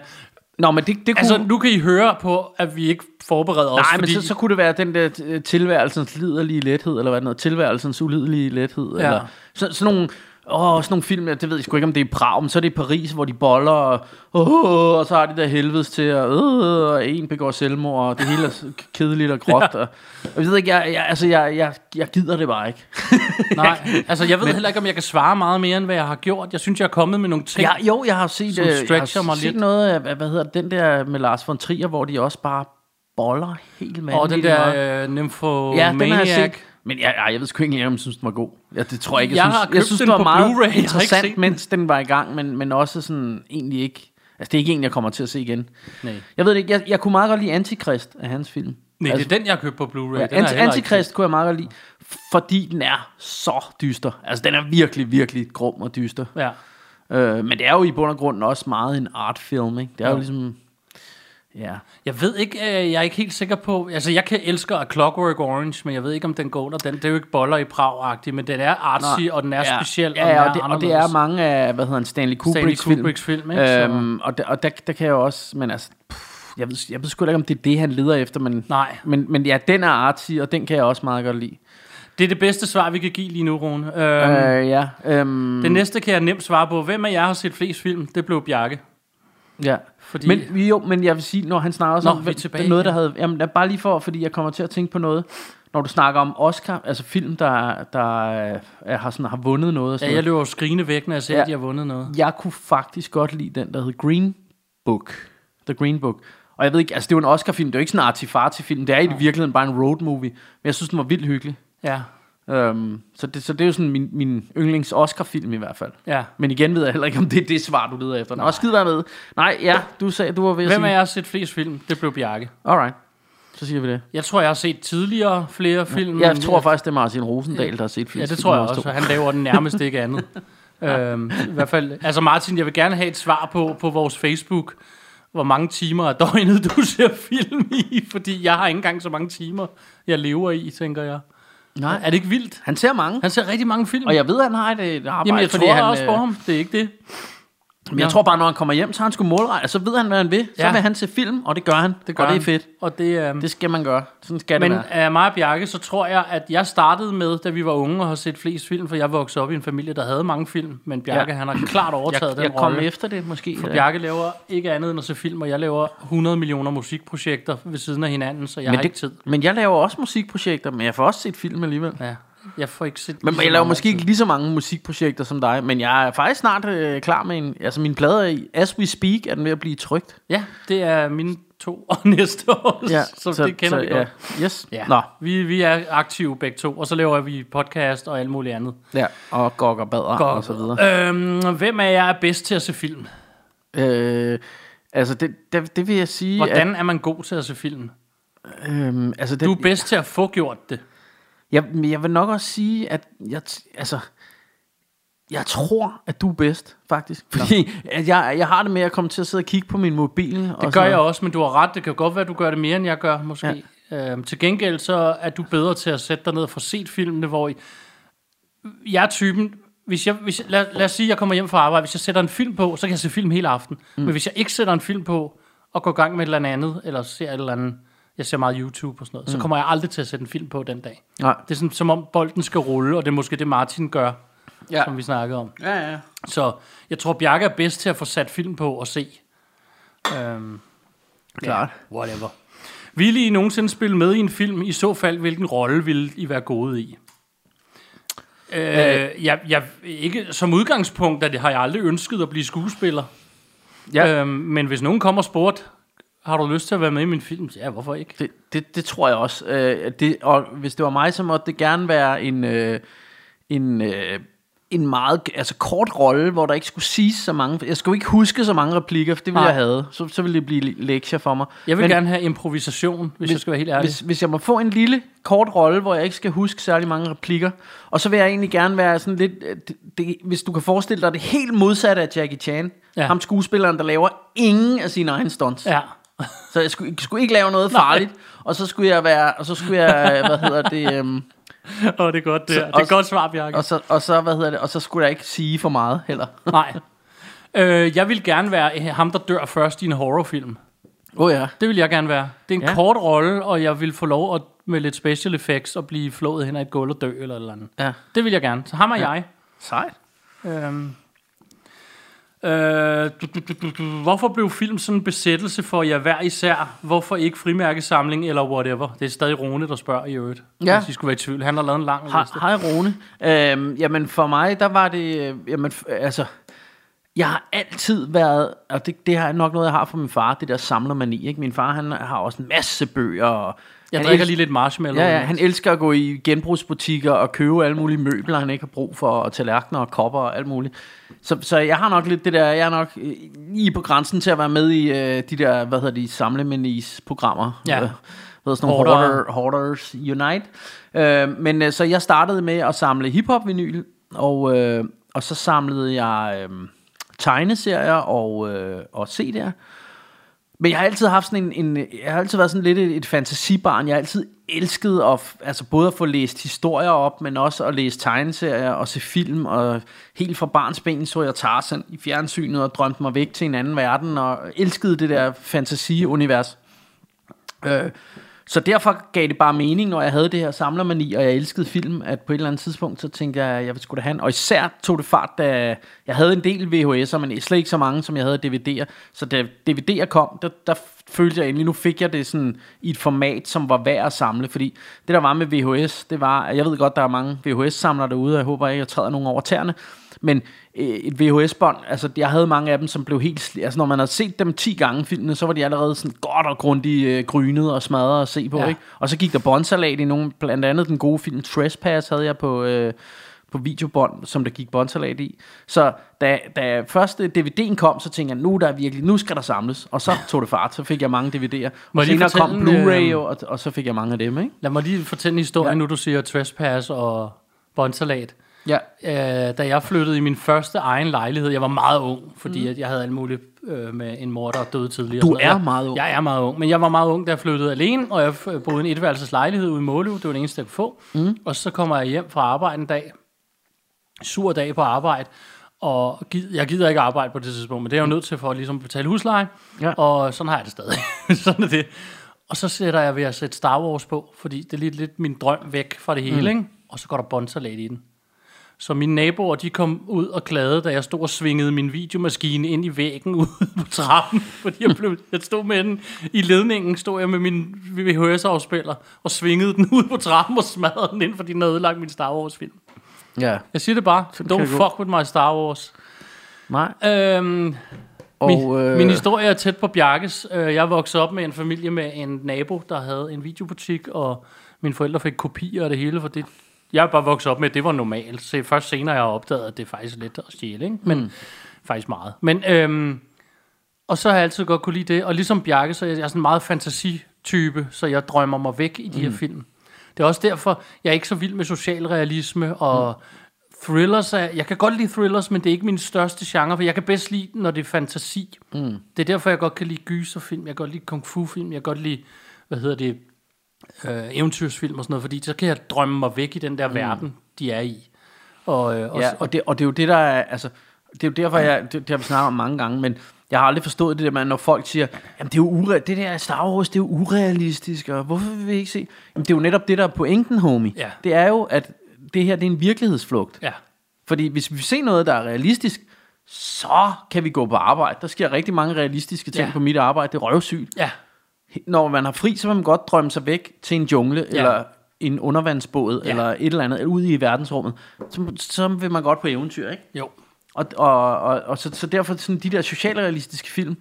Speaker 4: Nå, men det, det kunne...
Speaker 3: Altså, nu kan I høre på, at vi ikke forbereder os,
Speaker 4: nej,
Speaker 3: fordi...
Speaker 4: men så, så kunne det være den der øh, tilværelsens liderlige lethed, eller hvad den hedder, tilværelsens ulidelige lethed,
Speaker 3: Ja.
Speaker 4: ja. eller så, sådan nogle... Åh, sådan nogle film, ja, det ved jeg sgu ikke, om det er i Prag, men så er det i Paris, hvor de boller, og, åh, og så har de der helvedes til, og, øh, og en begår selvmord, og det hele er s- kedeligt og gråt. Og, og jeg ved ikke, jeg, jeg, altså, jeg, jeg, jeg gider det bare ikke.
Speaker 3: Nej, altså jeg ved men, heller ikke, om jeg kan svare meget mere, end hvad jeg har gjort. Jeg synes, jeg er kommet med nogle ting.
Speaker 4: Ja, jo, jeg har set,
Speaker 3: som
Speaker 4: øh, jeg
Speaker 3: stretcher
Speaker 4: har
Speaker 3: mig
Speaker 4: set
Speaker 3: lidt.
Speaker 4: noget af, hvad- hvad hedder den der med Lars von Trier, hvor de også bare boller helt mand.
Speaker 3: og den der øh,
Speaker 4: ja, den har jeg
Speaker 3: Nymphomaniac.
Speaker 4: set. Men jeg, jeg, jeg ved sgu ikke, engang, om jeg synes, den var god. Ja, det tror jeg ikke.
Speaker 3: Jeg
Speaker 4: Jeg, synes,
Speaker 3: har købt
Speaker 4: jeg synes,
Speaker 3: den
Speaker 4: den var
Speaker 3: på Blu-ray, jeg har
Speaker 4: meget
Speaker 3: ikke set
Speaker 4: interessant,
Speaker 3: den.
Speaker 4: mens den var i gang, men, men også sådan egentlig ikke... Altså, det er ikke en, jeg kommer til at se igen.
Speaker 3: Nej.
Speaker 4: Jeg ved det ikke, jeg, jeg kunne meget godt lide Antikrist af hans film.
Speaker 3: Nej,
Speaker 4: altså,
Speaker 3: det er den, jeg har købt på Blu-ray.
Speaker 4: Ja,
Speaker 3: Den har jeg
Speaker 4: Ant-
Speaker 3: heller ikke
Speaker 4: Antikrist kunne jeg meget godt lide, fordi den er så dyster. Altså, den er virkelig, virkelig grum og dyster.
Speaker 3: set. Ja.
Speaker 4: Øh, men det er jo i bund og grund også meget en artfilm, ikke? Det er jo
Speaker 3: Jo.
Speaker 4: ligesom... Ja.
Speaker 3: Jeg ved ikke, øh, jeg er ikke helt sikker på... Altså, jeg kan elsker A Clockwork Orange, men jeg ved ikke, om den går der. Den, det er jo ikke boller i prag men den er artsy, og den er
Speaker 4: ja.
Speaker 3: speciel, og den
Speaker 4: Ja,
Speaker 3: er
Speaker 4: og det, og det
Speaker 3: anderledes.
Speaker 4: er mange af, hvad hedder han, Stanley Kubricks,
Speaker 3: Stanley Kubricks
Speaker 4: film.
Speaker 3: film, ikke? Så-
Speaker 4: Øhm, og der, og der, der kan jeg jo også, men altså, pff, jeg ved, jeg ved sgu da ikke, om det er det, han leder efter, men,
Speaker 3: Nej.
Speaker 4: men, men ja, den er artsy, og den kan jeg også meget godt lide.
Speaker 3: Det er det bedste svar, vi kan give lige nu, Rune. Øhm, øh.
Speaker 4: Øh, ja, øhm,
Speaker 3: Det næste kan jeg nemt svare på. Hvem af jer har set flest film? Det blev Bjarke.
Speaker 4: ja.
Speaker 3: fordi-
Speaker 4: Fordi... Men, jo, men jeg vil sige, når han snakker også
Speaker 3: Nå,
Speaker 4: om,
Speaker 3: vi er
Speaker 4: hvem-
Speaker 3: tilbage
Speaker 4: noget, der
Speaker 3: igen.
Speaker 4: havde, jamen, der, bare lige for, fordi jeg kommer til at tænke på noget, når du snakker om Oscar, altså film, der, der øh, har, sådan, har vundet noget. Og sådan
Speaker 3: Ja, jeg
Speaker 4: noget.
Speaker 3: løber jo skrigende væk, når jeg ser, ja.
Speaker 4: Ja.
Speaker 3: at de har vundet noget.
Speaker 4: jeg kunne faktisk godt lide den, der hed Green Book. The Green Book. Og jeg ved ikke, altså det er jo en Oscar-film, det er jo ikke sådan en artifarti-film, det er i virkeligheden bare en road movie, men jeg synes, den var vildt hyggelig.
Speaker 3: Ja,
Speaker 4: Um, så, det, så det er jo sådan min, min yndlings Oscar-film i hvert fald.
Speaker 3: ja.
Speaker 4: Men igen ved jeg heller ikke, om det er det svar, du leder efter. Nå, skid være med. Nej, ja, du sagde, du var ved at
Speaker 3: Hvem af
Speaker 4: sige...
Speaker 3: jer har set flest film? Det blev Bjarke.
Speaker 4: Alright, så siger vi det.
Speaker 3: Jeg tror, jeg har set tidligere flere film.
Speaker 4: Jeg
Speaker 3: men- øh,
Speaker 4: tror faktisk, det er Martin Rosendal, der har set
Speaker 3: Ja, det
Speaker 4: flest film
Speaker 3: tror jeg
Speaker 4: af os
Speaker 3: også.
Speaker 4: to.
Speaker 3: og Han laver den nærmest ikke andet. øhm, I hvert fald, altså Martin, jeg vil gerne have et svar på, på vores Facebook, hvor mange timer af døgnet du ser film i, fordi jeg har ikke engang så mange timer, jeg lever i, tænker jeg.
Speaker 4: Nej.
Speaker 3: Er det ikke vildt?
Speaker 4: Han ser mange,
Speaker 3: Han ser rigtig mange film.
Speaker 4: og jeg ved, han har et, et arbejde,
Speaker 3: Jamen, jeg
Speaker 4: fordi
Speaker 3: tror
Speaker 4: han,
Speaker 3: også
Speaker 4: øh,
Speaker 3: på ham. Det er ikke det.
Speaker 4: Men jeg tror bare, når han kommer hjem, så har han sgu målrettet, så ved han, hvad han vil. Så
Speaker 3: Ja.
Speaker 4: vil han se film, og det gør han. Det gør og det er
Speaker 3: han.
Speaker 4: fedt.
Speaker 3: Og det, øhm,
Speaker 4: Det skal man gøre. Sådan skal
Speaker 3: Men
Speaker 4: det være.
Speaker 3: af mig og Bjarke, så tror jeg, at jeg startede med, da vi var unge og har set flest film, for jeg voksede op i en familie, der havde mange film, men Bjarke, ja.
Speaker 4: Ja.
Speaker 3: han har klart overtaget
Speaker 4: Jeg, jeg
Speaker 3: den
Speaker 4: kom
Speaker 3: rolle.
Speaker 4: efter det måske. For
Speaker 3: Bjarke laver ikke andet end at se film, og jeg laver 100 millioner musikprojekter ved siden af hinanden, så jeg men
Speaker 4: men,
Speaker 3: har det... ikke tid.
Speaker 4: men jeg laver også musikprojekter, men jeg får også set film alligevel. Ja.
Speaker 3: Ja. Jeg får ikke set...
Speaker 4: Men
Speaker 3: lige så
Speaker 4: jeg laver
Speaker 3: mange
Speaker 4: måske
Speaker 3: altid.
Speaker 4: ikke lige så mange musikprojekter som dig, men jeg er faktisk snart øh, klar med en... Altså, min plade er i As We Speak, er den ved at blive trygt.
Speaker 3: Ja, det er mine to og næste år, ja, så, så det kender så, vi godt.
Speaker 4: Ja. Yes.
Speaker 3: Ja.
Speaker 4: Nå.
Speaker 3: Vi, vi er aktive begge to, og så laver vi podcast og alt muligt andet.
Speaker 4: Ja. Og gok og bader
Speaker 3: Gok.
Speaker 4: og så videre.
Speaker 3: Øhm, hvem af jer er bedst til at se film?
Speaker 4: Øh, altså, det, det, det vil jeg sige...
Speaker 3: Hvordan er man god til at se film?
Speaker 4: At, øhm, altså, den,
Speaker 3: Du er bedst til at få gjort det.
Speaker 4: Jeg, men jeg vil nok også sige, at jeg, t- altså, Jeg tror, at du er bedst, faktisk. Fordi at jeg, jeg har det med at komme til at sidde og kigge på min mobil. Det
Speaker 3: Det gør jeg også, men du har ret. Det kan jo godt være, at du gør det mere, end jeg gør, måske. Ja. Øhm, til gengæld så er du bedre til at sætte dig ned og få set filmene, hvor I... jeg er typen... Hvis jeg, hvis jeg, lad, lad os sige, at jeg kommer hjem fra arbejde. Hvis jeg sætter en film på, så kan jeg se film hele aften. Mm. Men hvis jeg ikke sætter en film på og går i gang med et eller andet, eller ser et eller andet... Jeg ser meget YouTube og sådan noget. Mm. Så kommer jeg aldrig til at sætte en film på den dag.
Speaker 4: Nej.
Speaker 3: Det er sådan, som om bolden skal rulle, og det er måske det, Martin gør, ja. som vi snakkede om.
Speaker 4: Ja, ja.
Speaker 3: Så jeg tror, Bjarke er bedst til at få sat film på og se. Øhm,
Speaker 4: Klart.
Speaker 3: Ja, whatever. Ville I nogensinde spille med i en film? I så fald, hvilken rolle ville I være gode i? Øh, jeg, jeg, ikke, som udgangspunkt at det har jeg aldrig ønsket at blive skuespiller.
Speaker 4: Ja.
Speaker 3: Øhm, men hvis nogen kommer og spurgte, har du lyst til at være med i min film? Ja, hvorfor ikke?
Speaker 4: Det, det, det tror jeg også. Øh, at det, og hvis det var mig, så måtte det gerne være en, øh, en, øh, en meget altså kort rolle, hvor der ikke skulle siges så mange. Jeg skulle ikke huske så mange replikker, for det ville
Speaker 3: Nej.
Speaker 4: jeg have. Så, så ville det blive lektier for mig.
Speaker 3: Jeg vil
Speaker 4: Men-
Speaker 3: Men, gerne have improvisation, hvis, hvis jeg skal være helt ærlig.
Speaker 4: Hvis, hvis jeg må få en lille kort rolle, hvor jeg ikke skal huske særlig mange replikker, og så vil jeg egentlig gerne være sådan lidt, øh, det, det, hvis du kan forestille dig det helt modsatte af Jackie Chan, ja.
Speaker 3: Ja.
Speaker 4: ham skuespilleren, der laver ingen af sine egne stunts.
Speaker 3: Ja.
Speaker 4: Så jeg skulle, skulle ikke lave noget farligt, og så skulle jeg være, og så skulle jeg, øh, hvad hedder det, øhm,
Speaker 3: Åh, det er godt, det, er. det er et
Speaker 4: også-
Speaker 3: godt svar, Bjarke.
Speaker 4: og, så, og så, hvad hedder det, og så skulle jeg ikke sige for meget heller.
Speaker 3: Nej. Øh, jeg vil gerne være øh, ham, der dør først i en horrorfilm.
Speaker 4: Åh oh, ja.
Speaker 3: Det vil jeg gerne være. Det er en
Speaker 4: Ja.
Speaker 3: ja. kort rolle, og jeg vil få lov at, med lidt special effects at blive flået hen ad et gulv og dø eller et eller andet.
Speaker 4: Ja.
Speaker 3: Det vil jeg gerne. Så ham og ja. jeg.
Speaker 4: Sejt.
Speaker 3: Øhm. Øh, du, du, du, du, du. Hvorfor blev film sådan en besættelse for jer hver især? Hvorfor ikke frimærkesamling eller whatever? Det er stadig Rune, der spørger i øvrigt.
Speaker 4: Ja.
Speaker 3: Hvis I skulle være i tvivl. Han har lavet en lang liste.
Speaker 4: Hej, hej Rune. Øhm, jamen for mig, der var det, øh, jamen f- altså, jeg har altid været, og det, det er nok noget, jeg har fra min far, det der samlermani, ikke? Min far, han har også en masse bøger, og
Speaker 3: Jeg
Speaker 4: han
Speaker 3: drikker
Speaker 4: elsk-
Speaker 3: lige lidt marshmallow.
Speaker 4: Ja, ja, han elsker at gå i genbrugsbutikker og købe alle mulige møbler, han ikke har brug for, og tallerkener og kopper og alt muligt. Så, så jeg har nok lidt det der, jeg er nok øh, lige på grænsen til at være med i øh, de der, hvad hedder de, samlemenis-programmer.
Speaker 3: Ja.
Speaker 4: Øh, hvad hedder sådan nogle
Speaker 3: Hoarder.
Speaker 4: hoarder, Hoarders Unite. Øh, men øh, så jeg startede med at samle hiphop-vinyl, og, øh, og så samlede jeg øh, tegneserier og, øh, og CD'er. Men jeg har altid haft sådan en, en jeg har altid været sådan lidt et, et fantasibarn. Jeg har altid elsket at, f- altså både at få læst historier op, men også at læse tegneserier og se film. Og helt fra barns ben så jeg Tarzan i fjernsynet og drømte mig væk til en anden verden og elskede det der fantasiunivers. Øh, så derfor gav det bare mening, når jeg havde det her samlermani, og jeg elskede film, at på et eller andet tidspunkt, så tænkte jeg, at jeg skulle da have en. Og især tog det fart, da jeg havde en del VHS'er, men slet ikke så mange, som jeg havde DVD'er. Så da DVD'er kom, der, der følte jeg endelig, nu fik jeg det sådan i et format, som var værd at samle. Fordi det, der var med VHS, det var, at jeg ved godt, der er mange VHS-samlere derude, og jeg håber ikke, jeg træder nogen over tæerne. Men øh, et VHS-bånd, altså jeg havde mange af dem, som blev helt... sli- Altså når man havde set dem 10 gange filmene, så var de allerede sådan godt og grundigt øh, grynet og smadret at se på, ja.
Speaker 3: Ja.
Speaker 4: ikke? Og så gik der båndsalat i nogle, blandt andet den gode film Trespass havde jeg på, øh, på videobånd, som der gik båndsalat i. Så da, da første DVD'en kom, så tænkte jeg, nu, der er virkelig, nu skal der samles. Og så tog det fart, så fik jeg mange DVD'er.
Speaker 3: Må
Speaker 4: Og
Speaker 3: jeg lige
Speaker 4: senere kom
Speaker 3: fortælle en,
Speaker 4: Blu-ray,
Speaker 3: øh,
Speaker 4: og, og så fik jeg mange af dem, ikke?
Speaker 3: Lad mig lige fortælle en historie, ja. nu du siger trespass og båndsalat.
Speaker 4: Ja.
Speaker 3: øh, da jeg flyttede i min første egen lejlighed, jeg var meget ung, fordi mm. at jeg havde alt muligt øh, med en mor, der døde tidligere.
Speaker 4: Du
Speaker 3: og sådan noget.
Speaker 4: er meget ung.
Speaker 3: Jeg er meget ung, men jeg var meget ung, da jeg flyttede alene, og jeg f- boede i en etværelses lejlighed ude i Måløv, det var det eneste, jeg kunne få. Mm. Og så kommer jeg hjem fra arbejde en dag, sur dag på arbejde, og gid, jeg gider ikke arbejde på det tidspunkt, men det er jeg jo nødt til for at ligesom betale husleje,
Speaker 4: Ja.
Speaker 3: og sådan har jeg det stadig. sådan er det. Og så sætter jeg ved at sætte Star Wars på, fordi det er lidt, lidt min drøm væk fra det hele, mm. ikke? og så går der bonsalat i den. Så mine naboer, de kom ud og klagede, da jeg stod og svingede min videomaskine ind i væggen ude på trappen, fordi jeg, blev, jeg stod med den i ledningen, stod jeg med min VHS-afspiller og svingede den ud på trappen og smadrede den ind, fordi den havde ødelagt min Star Wars-film.
Speaker 4: Ja.
Speaker 3: Jeg siger det bare.
Speaker 4: kan
Speaker 3: Don't
Speaker 4: det gå.
Speaker 3: fuck with my Star Wars.
Speaker 4: Nej.
Speaker 3: Øhm,
Speaker 4: Og,
Speaker 3: min,
Speaker 4: øh,
Speaker 3: øh... min historie er tæt på Bjarkes. Øh, Jeg voksede op med en familie med en nabo, der havde en videobutik, og mine forældre fik kopier af det hele, for det, jeg er bare vokset op med, at det var normalt. Så først senere har jeg opdaget, at det er faktisk lidt at stjæle, ikke? men mm. faktisk meget. Men, øhm, og så har jeg altid godt kunne lide det, og ligesom Bjarke, så er jeg jeg er sådan en meget fantasitype, så jeg drømmer Mm. mig væk i de her film. Det er også derfor, jeg er ikke så vild med socialrealisme og Thrillers er, jeg kan godt lide thrillers, men det er ikke min største genre, for jeg kan bedst lide den, når det er fantasi. Mm. Det er derfor, jeg godt kan lide gyserfilm, jeg kan godt lide kung fu-film, jeg kan godt lide, hvad hedder det, øh, eventyrsfilm og sådan noget, fordi så kan jeg drømme mig væk i den der mm. verden, de er i. Og, øh, og,
Speaker 4: Ja, og det, og det er jo det, der er, altså, det er jo derfor, jeg, det, det har vi snakket om mange gange, men jeg har aldrig forstået det der med, når folk siger, jamen det er jo ure, det der Star Wars, det er jo urealistisk, og hvorfor vil vi ikke se? Jamen det er jo netop det, der er pointen, homie.
Speaker 3: Ja.
Speaker 4: Det er jo, at det her, det er en virkelighedsflugt.
Speaker 3: ja.
Speaker 4: Fordi hvis vi ser noget, der er realistisk, så kan vi gå på arbejde. Der sker rigtig mange realistiske ting
Speaker 3: Ja.
Speaker 4: ja. på mit arbejde. Det er røvsygt.
Speaker 3: ja.
Speaker 4: Når man har fri, så vil man godt drømme sig væk til en jungle,
Speaker 3: Ja.
Speaker 4: ja. eller en undervandsbåd,
Speaker 3: Ja.
Speaker 4: ja. eller et eller andet, eller ude i verdensrummet. Så, så vil man godt på eventyr, ikke?
Speaker 3: Jo.
Speaker 4: Og, og, og, og så, så derfor sådan de der socialrealistiske film,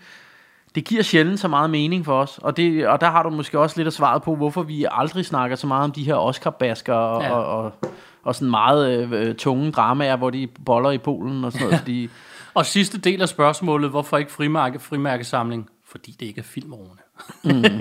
Speaker 4: det giver sjældent så meget mening for os. Og, det, og der har du måske også lidt af svaret på, hvorfor vi aldrig snakker så meget om de her Oscar-basker og,
Speaker 3: Ja.
Speaker 4: ja. og, og, og sådan meget øh, øh, tunge dramaer, hvor de boller i Polen og sådan noget. Fordi,
Speaker 3: Og sidste del af spørgsmålet, hvorfor ikke frimærke, frimærkesamling? Fordi det ikke er filmårene. Mm.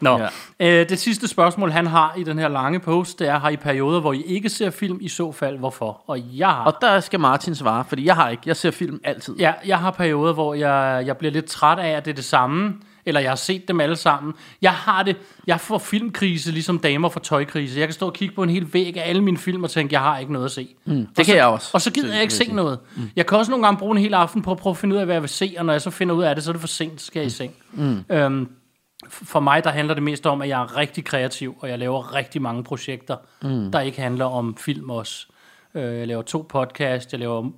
Speaker 3: Nå,
Speaker 4: Ja.
Speaker 3: ja. øh, det sidste spørgsmål, han har i den her lange post, det er, har I perioder, hvor I ikke ser film, i så fald hvorfor? Og jeg har
Speaker 4: og der skal Martin svare, fordi jeg har ikke. Jeg ser film altid.
Speaker 3: Ja, jeg har perioder, hvor jeg, jeg bliver lidt træt af, at det er det samme. Eller jeg har set dem alle sammen. Jeg har det. Jeg får filmkrise, ligesom damer får tøjkrise. Jeg kan stå og kigge på en hel væg af alle mine film og tænke, jeg har ikke noget at se. Mm,
Speaker 4: det kan jeg også.
Speaker 3: Og så gider jeg ikke se noget. Mm. Jeg kan også nogle gange bruge en hel aften på at prøve at finde ud af, hvad jeg vil se. Og når jeg så finder ud af det, så er det for sent, så skal jeg i seng. Mm. Øhm, f- for mig, der handler det mest om, at jeg er rigtig kreativ, og jeg laver rigtig mange projekter, mm. der ikke handler om film også. Øh, jeg laver to podcast, jeg laver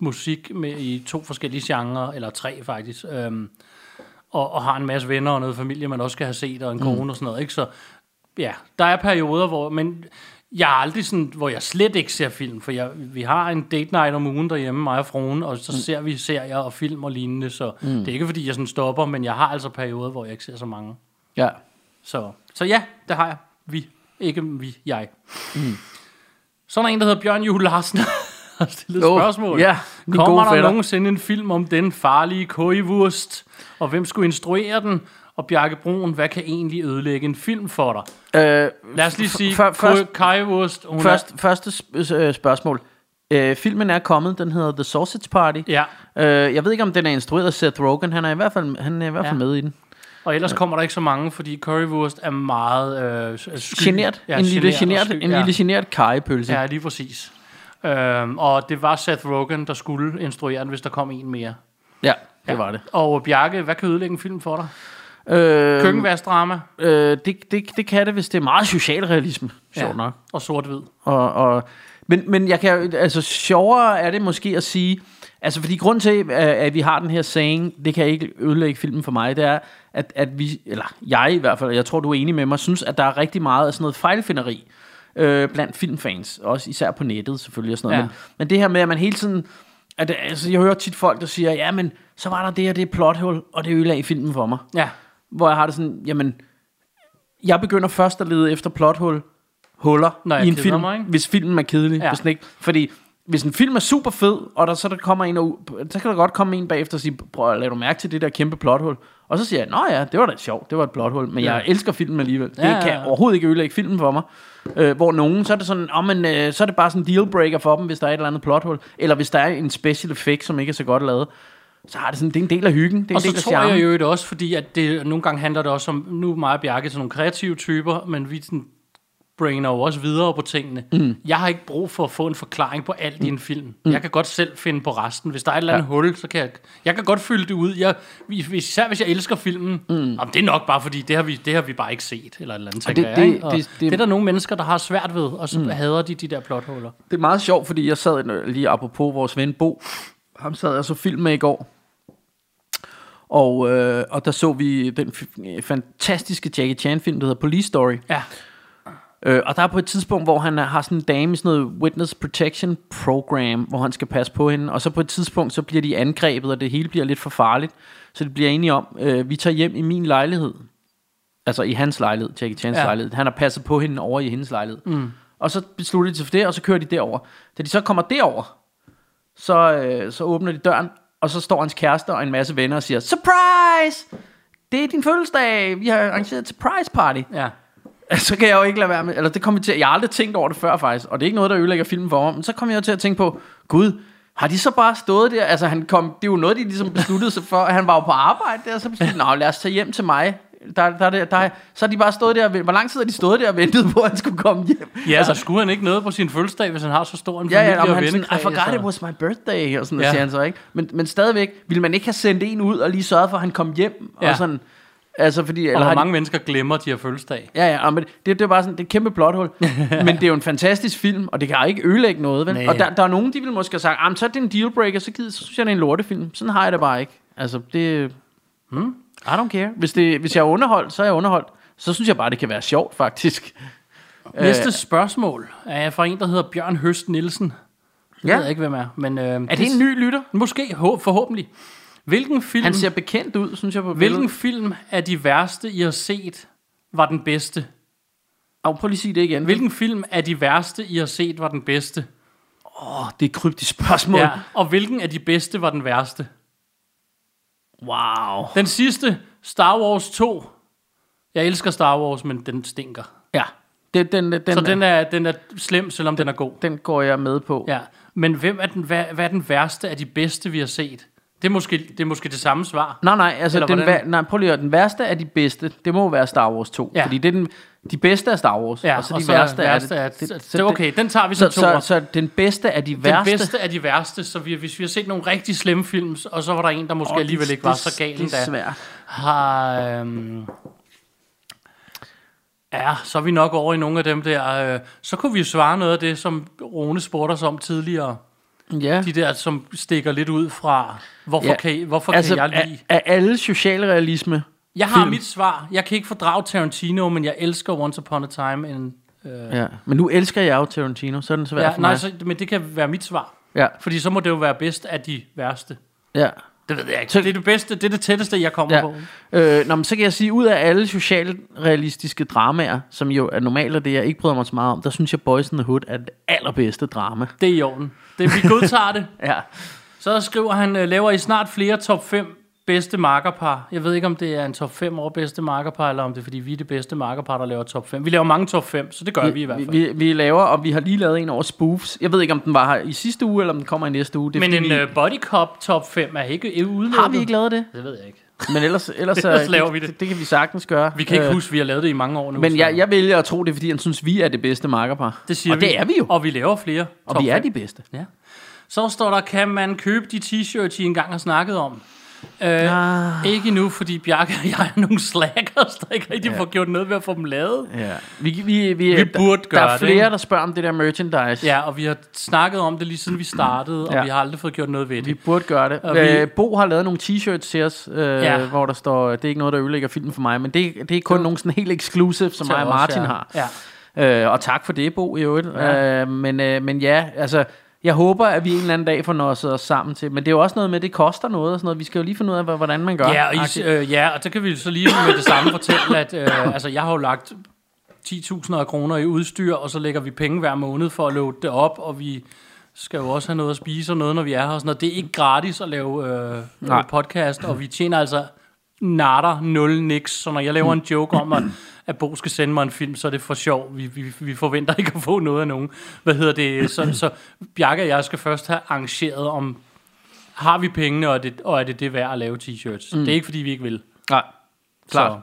Speaker 3: musik med, i to forskellige genrer, eller tre faktisk, øhm, og, og har en masse venner og noget familie, man også skal have set, og en kone mm. og sådan noget. Ikke? Så ja, der er perioder, hvor, men jeg er aldrig sådan, hvor jeg slet ikke ser film, for jeg, vi har en date night om ugen derhjemme, mig og fruen, og så mm. ser vi serier og film og lignende, så mm. det er ikke, fordi jeg sådan stopper, men jeg har altså perioder, hvor jeg ikke ser så mange.
Speaker 4: Ja.
Speaker 3: Så, så ja, det har jeg. Vi. Ikke vi, jeg. Mm. Så er der en, der hedder Bjørn Juhl Larsen, der har stillet
Speaker 4: Åh,
Speaker 3: spørgsmål.
Speaker 4: ja, min gode
Speaker 3: Kommer der
Speaker 4: fætter.
Speaker 3: nogensinde en film om den farlige køjevurst? Og hvem skulle instruere den? Og Bjarke Broen, hvad kan egentlig ødelægge en film for dig?
Speaker 4: Øh,
Speaker 3: Lad os lige sige,
Speaker 4: før- først-
Speaker 3: køjevurst, hun
Speaker 4: først, første sp- øh, spørgsmål. Øh, filmen er kommet, den hedder The Sausage Party.
Speaker 3: Er, ja,
Speaker 4: Øh, jeg ved ikke, om den er instrueret af Seth Rogen. Han er i hvert fald, han er i hvert fald
Speaker 3: Ja.
Speaker 4: ja. med i den.
Speaker 3: og ellers kommer der ikke så mange, fordi currywurst er meget øh, sky.
Speaker 4: Genert. Ja, en lille genert, en
Speaker 3: ja.
Speaker 4: lille genert kajepølse.
Speaker 3: Ja, lige præcis. Øhm, og det var Seth Rogen, der skulle instruere den, hvis der kom en mere.
Speaker 4: Ja, det var det.
Speaker 3: Og Bjarke, hvad kan ødelægge en film for dig?
Speaker 4: Øh,
Speaker 3: Køkkenværdsdrama
Speaker 4: øh, det, det, det kan det, hvis det er meget socialrealisme.
Speaker 3: Ja.
Speaker 4: Sjovt ja. nok.
Speaker 3: og sort-hvid.
Speaker 4: Og, og, men, men jeg kan, jo- altså, sjovere er det måske at sige, altså fordi grund til, at, at vi har den her saying, det kan ikke ødelægge filmen for mig, det er, at, at vi, eller jeg i hvert fald, og jeg tror, du er enig med mig, synes, at der er rigtig meget af sådan noget fejlfinderi øh, blandt filmfans, også især på nettet selvfølgelig og sådan noget.
Speaker 3: Ja.
Speaker 4: Ja. Men, men det her med, at man hele tiden, at, altså, jeg hører tit folk, der siger, ja, men så var der det her, det er plothul, og det ødelagde filmen for mig
Speaker 3: Ja,
Speaker 4: hvor jeg har det sådan, jamen, jeg begynder først at lede efter plothul, huller
Speaker 3: Når jeg
Speaker 4: i en
Speaker 3: keder
Speaker 4: film,
Speaker 3: mig, ikke?
Speaker 4: hvis filmen er kedelig.
Speaker 3: Ja.
Speaker 4: Ja. Hvis den ikke, fordi hvis en film er super fed, og der så der kommer en, og, så kan der godt komme en bagefter og sige, prøv at lade du mærke til det der kæmpe plothul. Og så siger jeg, nå ja, det var da sjovt, det var et plothul, men
Speaker 3: Ja.
Speaker 4: jeg elsker filmen alligevel. Det
Speaker 3: Ja, ja, ja.
Speaker 4: kan overhovedet ikke ødelægge filmen for mig. Øh, hvor nogen, så er det sådan, oh, men, øh, så er det bare sådan en dealbreaker for dem, hvis der er et eller andet plothul, eller hvis der er en special effect, som ikke er så godt lavet. Så har det sådan, det er en del af hyggen, det er
Speaker 3: og
Speaker 4: en
Speaker 3: så
Speaker 4: del af
Speaker 3: tror jeg
Speaker 4: charmen.
Speaker 3: jo det også, fordi at det, nogle gange handler det også om, nu er mig og Bjarke sådan nogle kreative typer, men vi sådan brainer jo også videre på tingene. Mm. Jeg har ikke brug for at få en forklaring på alt i en film. Mm. Jeg kan godt selv finde på resten. Hvis der er et eller andet ja. hul, så kan jeg... Jeg kan godt fylde det ud. Jeg, hvis- især hvis jeg elsker filmen. Mm. Jamen, det er nok bare, fordi det har vi, det har vi bare ikke set, eller et eller andet, tænker
Speaker 4: det-
Speaker 3: jeg.
Speaker 4: det-
Speaker 3: ikke? Og
Speaker 4: det-
Speaker 3: det,
Speaker 4: det-
Speaker 3: det er der nogle mennesker, der har svært ved, og så mm. hader de de der plothuller.
Speaker 4: Det er meget sjovt, fordi jeg sad øh, lige apropos vores ven Bo. Ham sad jeg så film med i går. Og, øh, og der så vi den f- øh, fantastiske Jackie Chan-film, der hedder Police Story.
Speaker 3: Ja,
Speaker 4: Øh, og der er på et tidspunkt, hvor han er- har sådan en dame i sådan noget Witness Protection Program, hvor han skal passe på hende. Og så på et tidspunkt, så bliver de angrebet, og det hele bliver lidt for farligt. Så det bliver enige om, øh, vi tager hjem i min lejlighed. Altså i hans lejlighed, Jackie Chans
Speaker 3: Ja.
Speaker 4: ja. lejlighed. Han har passet på hende over i hendes lejlighed. Mm. Og så beslutter de sig for det, og så kører de derover. Da de så kommer derover, så, øh, så åbner de døren, og så står hans kæreste og en masse venner og siger, Surprise! Det er din fødselsdag! Vi har arrangeret et surprise party.
Speaker 3: ja.
Speaker 4: så kan jeg jo ikke lade være med, eller det kom jeg til, jeg har aldrig tænkt over det før faktisk, og det er ikke noget, der ødelægger filmen for mig, men så kom jeg jo til at tænke på, gud, har de så bare stået der, altså han kom, det er jo noget, de ligesom besluttede sig for, han var jo på arbejde der, så besluttede, de, nå lad os tage hjem til mig, der, der, der, der, så har de bare stået der, og ven- hvor lang tid har de stået der og ventet på, at han skulle komme hjem?
Speaker 3: Ja, altså skulle han ikke noget på sin fødselsdag, hvis han har så stor en
Speaker 4: Ja, ja,
Speaker 3: familie
Speaker 4: om
Speaker 3: og
Speaker 4: han sådan, I
Speaker 3: vennekreds,
Speaker 4: forgot
Speaker 3: altså? og-
Speaker 4: it was my birthday, og sådan ja.
Speaker 3: Ja.
Speaker 4: siger han så, ikke? Men, men stadigvæk, ville man ikke have sendt en ud og lige sørget for, at han kom hjem, ja.
Speaker 3: Ja.
Speaker 4: og sådan, altså fordi,
Speaker 3: Og
Speaker 4: eller
Speaker 3: hvor
Speaker 4: har de-
Speaker 3: mange mennesker glemmer, at de har fødselsdag.
Speaker 4: Ja, ja, og men det, det er bare sådan, det er et kæmpe plothul. men det er jo en fantastisk film, og det kan jo ikke ødelægge noget, vel?
Speaker 3: Nej.
Speaker 4: Og der, der er nogen, de vil måske have sagt, ah, men så er det en dealbreaker, så, gider, så synes jeg, det er en lortefilm. Sådan har jeg det bare ikke. Altså, det... Hmm? I don't care. Hvis, det, hvis jeg er underholdt, så er jeg underholdt. Så synes jeg bare, det kan være sjovt, faktisk. Øh.
Speaker 3: Næste spørgsmål er fra en, der hedder Bjørn Høst Nielsen. Jeg
Speaker 4: Ja.
Speaker 3: ved ikke, hvem er. Men, øh,
Speaker 4: Er det en ny lytter?
Speaker 3: Måske, hå- forhåbentlig. Hvilken film,
Speaker 4: Han ser bekendt ud, synes jeg på
Speaker 3: hvilken
Speaker 4: billedet.
Speaker 3: film af de værste, I har set, var den bedste?
Speaker 4: Oh, prøv lige at sige det igen.
Speaker 3: Hvilken film af de værste, I har set, var den bedste?
Speaker 4: Åh, det er et kryptisk spørgsmål.
Speaker 3: Ja. Og hvilken af de bedste var den værste?
Speaker 4: Wow.
Speaker 3: Den sidste, Star Wars 2. Jeg elsker Star Wars, men den stinker.
Speaker 4: Ja. Det, den, den,
Speaker 3: Så den er, den er slem, selvom den er god.
Speaker 4: den går jeg med på.
Speaker 3: Ja, men hvem er den, hvad, hvad er den værste af de bedste, vi har set? Det er måske det, er måske det samme svar.
Speaker 4: Nej, nej, altså
Speaker 3: Eller
Speaker 4: den,
Speaker 3: hvordan?
Speaker 4: vær- nej, prøv lige at høre, den værste af de bedste, det må være Star Wars 2,
Speaker 3: Ja.
Speaker 4: fordi det er den, de bedste er Star Wars,
Speaker 3: Ja,
Speaker 4: og så de værste, er, det.
Speaker 3: er det.
Speaker 4: det,
Speaker 3: Så, så, okay, den tager vi
Speaker 4: så,
Speaker 3: som
Speaker 4: så, så,
Speaker 3: to.
Speaker 4: så den bedste af de
Speaker 3: Den
Speaker 4: værste,
Speaker 3: bedste af de værste, så vi, hvis vi har set nogle rigtig slemme film, og så var der en, der måske
Speaker 4: Åh,
Speaker 3: oh, alligevel
Speaker 4: det-
Speaker 3: ikke var
Speaker 4: det-
Speaker 3: så gal
Speaker 4: Det er
Speaker 3: endda.
Speaker 4: svært.
Speaker 3: Har, øhm, ja, så er vi nok over i nogle af dem der. Øh, så kunne vi jo svare noget af det, som Rune spurgte os om tidligere.
Speaker 4: Ja.
Speaker 3: De der, som stikker lidt ud fra, hvorfor,
Speaker 4: Ja.
Speaker 3: ja. kan, I- hvorfor
Speaker 4: Altså,
Speaker 3: kan jeg lide...
Speaker 4: af, af alle socialrealisme,
Speaker 3: Jeg har
Speaker 4: film.
Speaker 3: film. mit svar. Jeg kan ikke fordrage Tarantino, men jeg elsker Once Upon a Time. In, øh, ja,
Speaker 4: ja. men nu elsker jeg jo Tarantino, så er den svær for
Speaker 3: nej,
Speaker 4: mig.
Speaker 3: så, men det kan være mit svar.
Speaker 4: Ja,
Speaker 3: Fordi så må det jo være bedst af de værste.
Speaker 4: ja.
Speaker 3: Det ved jeg ikke. Det er det bedste, det er det tætteste, jeg kommer ja.
Speaker 4: Ja.
Speaker 3: på.
Speaker 4: Øh, nå, men så kan jeg sige, ud af alle socialrealistiske dramaer, som jo er normalt og det, jeg ikke bryder mig så meget om, der synes jeg Boys in the Hood er det allerbedste drama.
Speaker 3: Det er i orden. Det, vi godtager det.
Speaker 4: Ja.
Speaker 3: Så skriver han, øh, laver I snart flere top 5 bedste markerpar. Jeg ved ikke, om det er en top 5 over bedste markerpar, eller om det er, fordi vi er det bedste markerpar, der laver top 5. Vi laver mange top 5, så det gør vi, i hvert fald.
Speaker 4: Vi, vi laver, og vi har lige lavet en over spoofs. Jeg ved ikke, om den var her i sidste uge, eller om den kommer i næste uge. Det er,
Speaker 3: men
Speaker 4: fordi
Speaker 3: en
Speaker 4: vi,
Speaker 3: øh, body cop top 5 er ikke er udelukket.
Speaker 4: har vi ikke lavet det?
Speaker 3: Det ved jeg ikke.
Speaker 4: Men ellers, ellers, øh,
Speaker 3: Ellers laver vi det.
Speaker 4: Det, det kan vi sagtens gøre.
Speaker 3: Vi kan ikke
Speaker 4: Øh,
Speaker 3: huske, vi har lavet det i mange år nu.
Speaker 4: Men
Speaker 3: så-
Speaker 4: jeg, jeg vælger at tro det, er, fordi han synes, vi er det bedste markerpar.
Speaker 3: Det siger
Speaker 4: og
Speaker 3: vi.
Speaker 4: det er vi jo. Og,
Speaker 3: Og vi laver flere.
Speaker 4: og
Speaker 3: top
Speaker 4: vi er
Speaker 3: fem.
Speaker 4: de bedste.
Speaker 3: Ja. Så står der, kan man købe de t-shirts, I engang har snakket om? Øh,
Speaker 4: Ah.
Speaker 3: Ikke nu, fordi Bjarke og jeg er nogle slackers, der ikke rigtig ja. får gjort noget ved at få dem lavet.
Speaker 4: Ja. Vi, vi, vi,
Speaker 3: Vi
Speaker 4: der,
Speaker 3: burde gøre
Speaker 4: Der er
Speaker 3: det,
Speaker 4: flere,
Speaker 3: ikke?
Speaker 4: der spørger om det der merchandise.
Speaker 3: Ja, og vi har snakket om det lige siden vi startede, og
Speaker 4: Ja.
Speaker 3: vi har aldrig fået gjort noget ved
Speaker 4: Vi
Speaker 3: det.
Speaker 4: burde gøre det.
Speaker 3: Og vi-
Speaker 4: Øh, Bo har lavet nogle t-shirts til os, øh, ja.
Speaker 3: Ja.
Speaker 4: hvor der står, det er ikke noget, der ødelægger filmen for mig, men det, det er kun nogle sådan helt exclusive, som
Speaker 3: Til
Speaker 4: mig
Speaker 3: os,
Speaker 4: og Martin
Speaker 3: ja.
Speaker 4: har.
Speaker 3: Ja.
Speaker 4: Øh, og tak for det, Bo, i øvrigt. Ja. Øh, men, øh, men ja, altså, jeg håber, at vi en eller anden dag får nosset os sammen til. Men det er jo også noget med, at det koster noget og sådan noget. Vi skal jo lige finde ud af, hva- hvordan man gør.
Speaker 3: Ja, og, I,
Speaker 4: Agtigt.
Speaker 3: øh, ja, og så kan vi så lige med det samme fortælle, at øh, altså, jeg har jo lagt 10.000 af kroner i udstyr, og så lægger vi penge hver måned for at load det op, og vi skal jo også have noget at spise og noget, når vi er her. Og sådan noget. Det er ikke gratis at lave øh,
Speaker 4: Nej.
Speaker 3: podcast, og vi tjener altså natter, nul, niks. Så når jeg laver
Speaker 4: Mm.
Speaker 3: en joke om, at, at Bo skal sende mig en film, så er det for sjov. Vi, vi, vi forventer ikke at få noget af nogen. Hvad hedder det? Så, så Bjarke og jeg skal først have arrangeret om, har vi pengene, og er det, og er det det værd at lave t-shirts? Mm. Det er ikke, fordi vi ikke vil.
Speaker 4: Nej, klart.
Speaker 3: Så,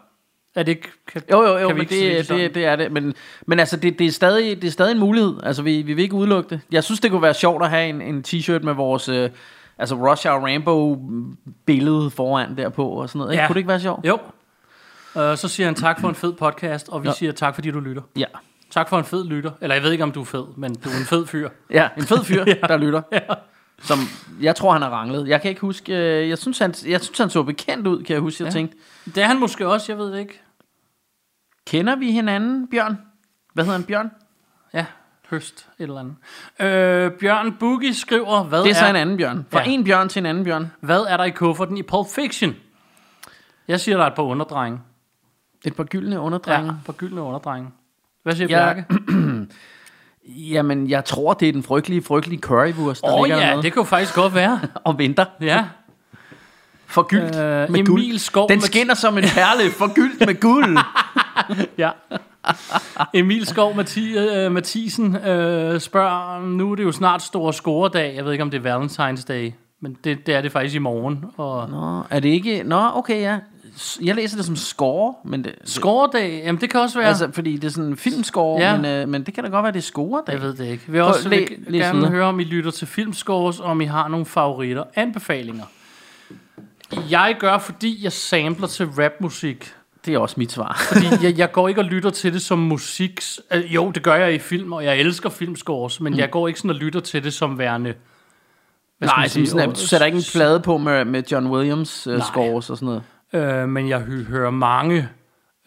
Speaker 3: er det ikke... Kan,
Speaker 4: Jo, jo, jo,
Speaker 3: kan vi
Speaker 4: men
Speaker 3: ikke sige
Speaker 4: det,
Speaker 3: sådan?
Speaker 4: det, det er det. Men, men altså, det, det, er stadig, det er stadig en mulighed. Altså, vi, vi vil ikke udelukke det. Jeg synes, det kunne være sjovt at have en, en t-shirt med vores... Øh, altså, Rush Hour Rambo-billede foran derpå og sådan noget. Ikke?
Speaker 3: Ja.
Speaker 4: Kunne det ikke være sjovt?
Speaker 3: Jo. Uh, så siger han tak for en fed podcast, og vi ja. siger tak, fordi du lytter.
Speaker 4: Ja.
Speaker 3: Tak for en fed lytter. Eller jeg ved ikke, om du er fed, men du er en fed fyr.
Speaker 4: Ja, en fed fyr, der lytter. Som jeg tror, han har ranglet. Jeg kan ikke huske... øh, Jeg synes, han, jeg synes, han så bekendt ud, kan jeg huske. Jeg ja. tænkte,
Speaker 3: Det er han måske også, jeg ved det ikke.
Speaker 4: kender vi hinanden, Bjørn? Hvad hedder han, Bjørn?
Speaker 3: Ja, høst et eller andet. Øh, Bjørn Boogie skriver, hvad
Speaker 4: Det er
Speaker 3: er,
Speaker 4: så en anden Bjørn. Fra
Speaker 3: Ja.
Speaker 4: en Bjørn til en anden Bjørn.
Speaker 3: hvad er der i kufferten i Pulp Fiction? Jeg siger, der er et par underdrenge.
Speaker 4: Et par gyldne
Speaker 3: Ja,
Speaker 4: underdrenge.
Speaker 3: et par gyldne underdrenge. Hvad siger
Speaker 4: Ja,
Speaker 3: Bjarke?
Speaker 4: Ja. Jamen, jeg tror, det er den frygtelige, frygtelige currywurst, der
Speaker 3: Åh oh,
Speaker 4: ligger
Speaker 3: ja,
Speaker 4: dernede
Speaker 3: det kunne faktisk godt være.
Speaker 4: og venter.
Speaker 3: Ja.
Speaker 4: For gyldt
Speaker 3: Øh,
Speaker 4: med
Speaker 3: Emil
Speaker 4: guld.
Speaker 3: Skov
Speaker 4: Den
Speaker 3: Mathi-
Speaker 4: skinner som en perle, for gyldt med guld.
Speaker 3: Ja. Emil Skov Mathi, øh, Mathisen øh, spørger, nu er det jo snart store scoredag. Jeg ved ikke, om det er Valentine's Day, men det, det er det faktisk i morgen. Og
Speaker 4: Nå, er det ikke... Nå, okay, ja. S- Jeg læser det som score, men det, det,
Speaker 3: scoredag, jamen det kan også være...
Speaker 4: altså, fordi det er sådan en filmscore,
Speaker 3: Ja.
Speaker 4: ja. men, øh, men det kan da godt være, det er score,
Speaker 3: Jeg
Speaker 4: David.
Speaker 3: ved det ikke. Vi vil også
Speaker 4: læ-
Speaker 3: læ-
Speaker 4: læs
Speaker 3: gerne
Speaker 4: videre.
Speaker 3: høre, om I lytter til filmscores, og om I har nogle favoritter. Anbefalinger. Jeg gør, fordi jeg samler til rapmusik.
Speaker 4: Det er også mit svar.
Speaker 3: Fordi jeg, jeg går ikke og lytter til det som musik. Øh, jo, det gør jeg i film, og jeg elsker filmscores, men mm. jeg går ikke sådan og lytter til det som værende... Hvad skal
Speaker 4: Nej,
Speaker 3: man
Speaker 4: som
Speaker 3: sige?
Speaker 4: sådan, at du sætter ikke en plade på med, med John Williams uh,
Speaker 3: Nej.
Speaker 4: scores og sådan noget.
Speaker 3: Øh, men jeg hø- hører mange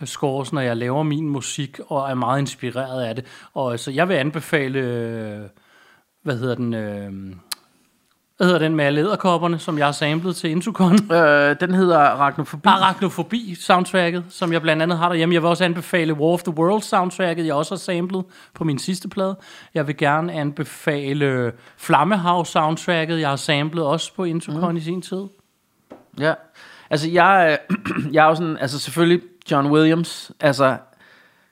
Speaker 3: øh, scores, når jeg laver min musik, og er meget inspireret af det. Og altså, jeg vil anbefale, øh, hvad hedder den, øh, hvad hedder den med alle æderkopperne, som jeg har samlet til Intucon?
Speaker 4: Øh, den hedder Arachnofobi.
Speaker 3: Ah, Arachnofobi soundtracket, som jeg blandt andet har derhjemme. Jeg vil også anbefale War of the Worlds soundtracket, jeg også har samlet på min sidste plade. Jeg vil gerne anbefale øh, Flammehav soundtracket, jeg har samlet også på Intucon mm. i sin tid.
Speaker 4: Ja. Altså, jeg, øh, jeg er jo sådan, altså selvfølgelig John Williams, altså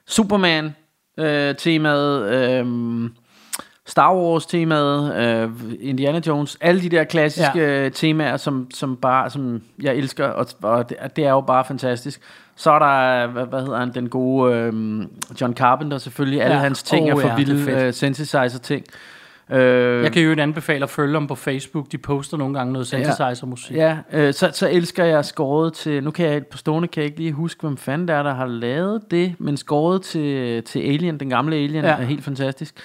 Speaker 4: Superman øh, temaet, øh, Star Wars temaet, øh, Indiana Jones, alle de der klassiske ja. temaer, som, som bare, som jeg elsker, og, og det, det er jo bare fantastisk. Så er der, hvad, hvad hedder han, den gode øh, John Carpenter selvfølgelig, alle
Speaker 3: Ja.
Speaker 4: ja. hans ting
Speaker 3: Åh,
Speaker 4: oh, er for
Speaker 3: ja, det er
Speaker 4: vilde
Speaker 3: fedt.
Speaker 4: øh, synthesizer ting. Øh,
Speaker 3: Jeg kan jo anbefale at følge dem på Facebook. De poster nogle gange noget synthesizer-musik. Ja.
Speaker 4: Ja, øh, så, så elsker jeg skåret til... Nu kan jeg på stående kan jeg ikke lige huske, hvem fanden det er, der har lavet det, men skåret til, til Alien, den gamle Alien,
Speaker 3: Ja.
Speaker 4: ja. er helt fantastisk.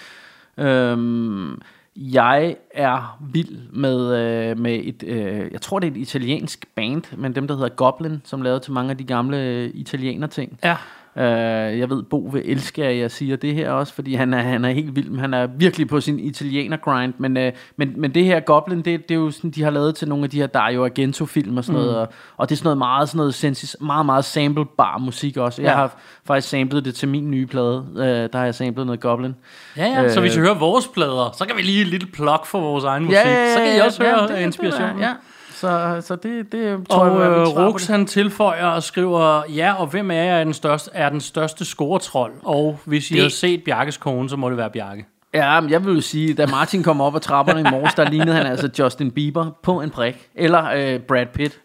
Speaker 4: Øhm, jeg er vild med, øh, med et... Øh, jeg tror, det er et italiensk band, men dem, der hedder Goblin, som lavede til mange af de gamle øh, italiener-ting.
Speaker 3: ja.
Speaker 4: Øh, jeg ved, Bo vil elske, at jeg siger det her også, fordi han er, han er helt vild. men Han er virkelig på sin italiener-grind. Men, øh, men, men det her Goblin, det, det er jo sådan, de har lavet til nogle af de her Dario Argento-film og sådan mm. noget. Og, og det er sådan noget meget, sådan noget sensis, meget, meget samplebar musik også. Jeg
Speaker 3: Ja.
Speaker 4: har faktisk samlet det til min nye plade. Øh, der har jeg samlet noget Goblin.
Speaker 3: Ja, ja. Så
Speaker 4: Øh.
Speaker 3: hvis I hører vores plader, så kan vi lige et lille plug for vores egen musik. så kan I også høre
Speaker 4: det- det-
Speaker 3: det, inspirationen.
Speaker 4: Ja, så, så det, det tror
Speaker 3: Og
Speaker 4: jeg, er
Speaker 3: øh,
Speaker 4: mit svar på
Speaker 3: Rox
Speaker 4: det.
Speaker 3: han tilføjer og skriver, ja, og hvem af jer er den største, er den største scoretrold? Og hvis I det.
Speaker 4: Det-
Speaker 3: havde set Bjarkes kone, så må det være Bjarke.
Speaker 4: Ja, men jeg vil jo sige, da Martin kom op ad trapperne i morges, der lignede han altså Justin Bieber på en prik. Eller øh, Brad Pitt.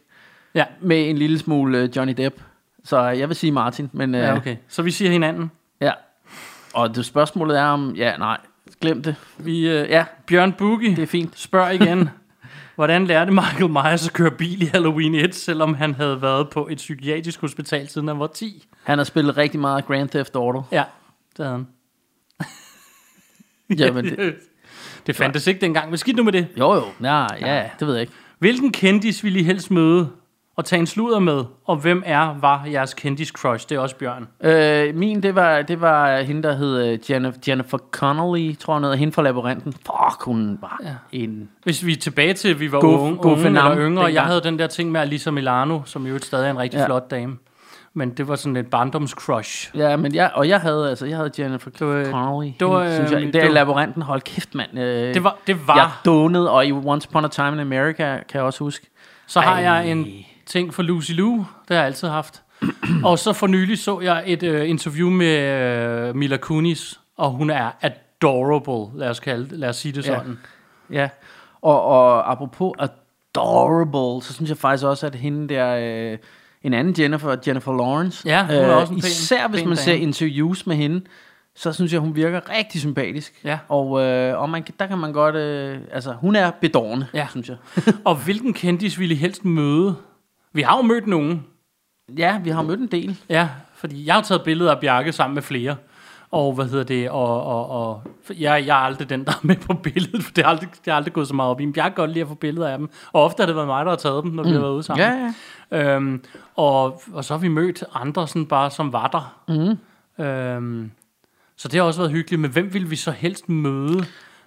Speaker 3: Ja.
Speaker 4: Med en lille smule øh, Johnny Depp. Så jeg vil sige Martin, men... Øh,
Speaker 3: Ja, okay. Så vi siger hinanden.
Speaker 4: Ja. Og det spørgsmålet er om... Ja, nej. Glem det.
Speaker 3: Vi, øh,
Speaker 4: Ja,
Speaker 3: Bjørn Boogie
Speaker 4: det er fint.
Speaker 3: spørger igen, hvordan lærte Michael Myers at køre bil i Halloween 1, selvom han havde været på et psykiatrisk hospital, siden han var 10?
Speaker 4: Han har spillet rigtig meget Grand Theft Auto.
Speaker 3: Ja, det havde han.
Speaker 4: Jamen, det,
Speaker 3: Det fandtes ikke dengang, men skidt nu med det.
Speaker 4: jo, jo. Ja, ja, det ved jeg ikke.
Speaker 3: Hvilken kendis vil I helst møde og tage en sludder med? Og hvem er, var jeres kendis crush? Det er også Bjørn.
Speaker 4: Øh, min, det var, det var hende, der hed øh, Jennifer, Jennifer Connelly, tror jeg, noget, hende fra Labyrinten. Fuck, hun var ja. en
Speaker 3: Hvis vi er tilbage til, at vi var
Speaker 4: Guf-
Speaker 3: unge, unge
Speaker 4: Guffe Nam
Speaker 3: eller yngre, jeg
Speaker 4: dengang.
Speaker 3: havde den der ting med Alisa Milano, som jo stadig er en rigtig ja.
Speaker 4: Ja.
Speaker 3: flot dame. Men det var sådan et barndomscrush.
Speaker 4: Ja, men jeg, og jeg havde altså, jeg havde Jennifer
Speaker 3: var, øh,
Speaker 4: Connelly.
Speaker 3: det
Speaker 4: Det
Speaker 3: var,
Speaker 4: var, synes
Speaker 3: øh,
Speaker 4: jeg. Det
Speaker 3: det
Speaker 4: er
Speaker 3: var-
Speaker 4: laboranten, hold kæft, mand. Øh,
Speaker 3: Det var, det var.
Speaker 4: Jeg donede, og i Once Upon a Time in America, kan jeg også huske.
Speaker 3: Så har
Speaker 4: Ej.
Speaker 3: jeg en ting for Lucy Lou, det har jeg altid haft. og så for nylig så jeg et øh, interview med øh, Mila Kunis, og hun er adorable, lad os, kalde, lad os sige det
Speaker 4: Ja.
Speaker 3: sådan.
Speaker 4: Ja. Og, og apropos adorable, så synes jeg faktisk også, at hende der... Øh, en anden Jennifer, Jennifer Lawrence. øh,
Speaker 3: Ja, hun er også en pæn-
Speaker 4: Især hvis
Speaker 3: pæn
Speaker 4: man ser
Speaker 3: dame.
Speaker 4: interviews med hende, så synes jeg, hun virker rigtig sympatisk.
Speaker 3: Ja.
Speaker 4: Og, øh, og man, kan- der kan man godt... Øh, altså, hun er bedårende,
Speaker 3: Ja.
Speaker 4: synes jeg.
Speaker 3: og hvilken kendis ville I helst møde? Vi har jo mødt nogen,
Speaker 4: ja, vi har mødt en del.
Speaker 3: ja, fordi jeg har taget billeder af Bjarke sammen med flere. Og hvad hedder det, og, og, og for jeg, jeg er aldrig den, der er med på billedet, for det har aldrig, det har aldrig gået så meget op i. Men jeg kan godt lide at få billeder af dem, og ofte har det været mig, der har taget dem, når vi har været ude sammen.
Speaker 4: Mm. Ja, ja.
Speaker 3: Øhm, og, og så har vi mødt andre, sådan bare, som var der. Mm. Øhm, så det har også været hyggeligt. Men hvem vil vi så helst møde?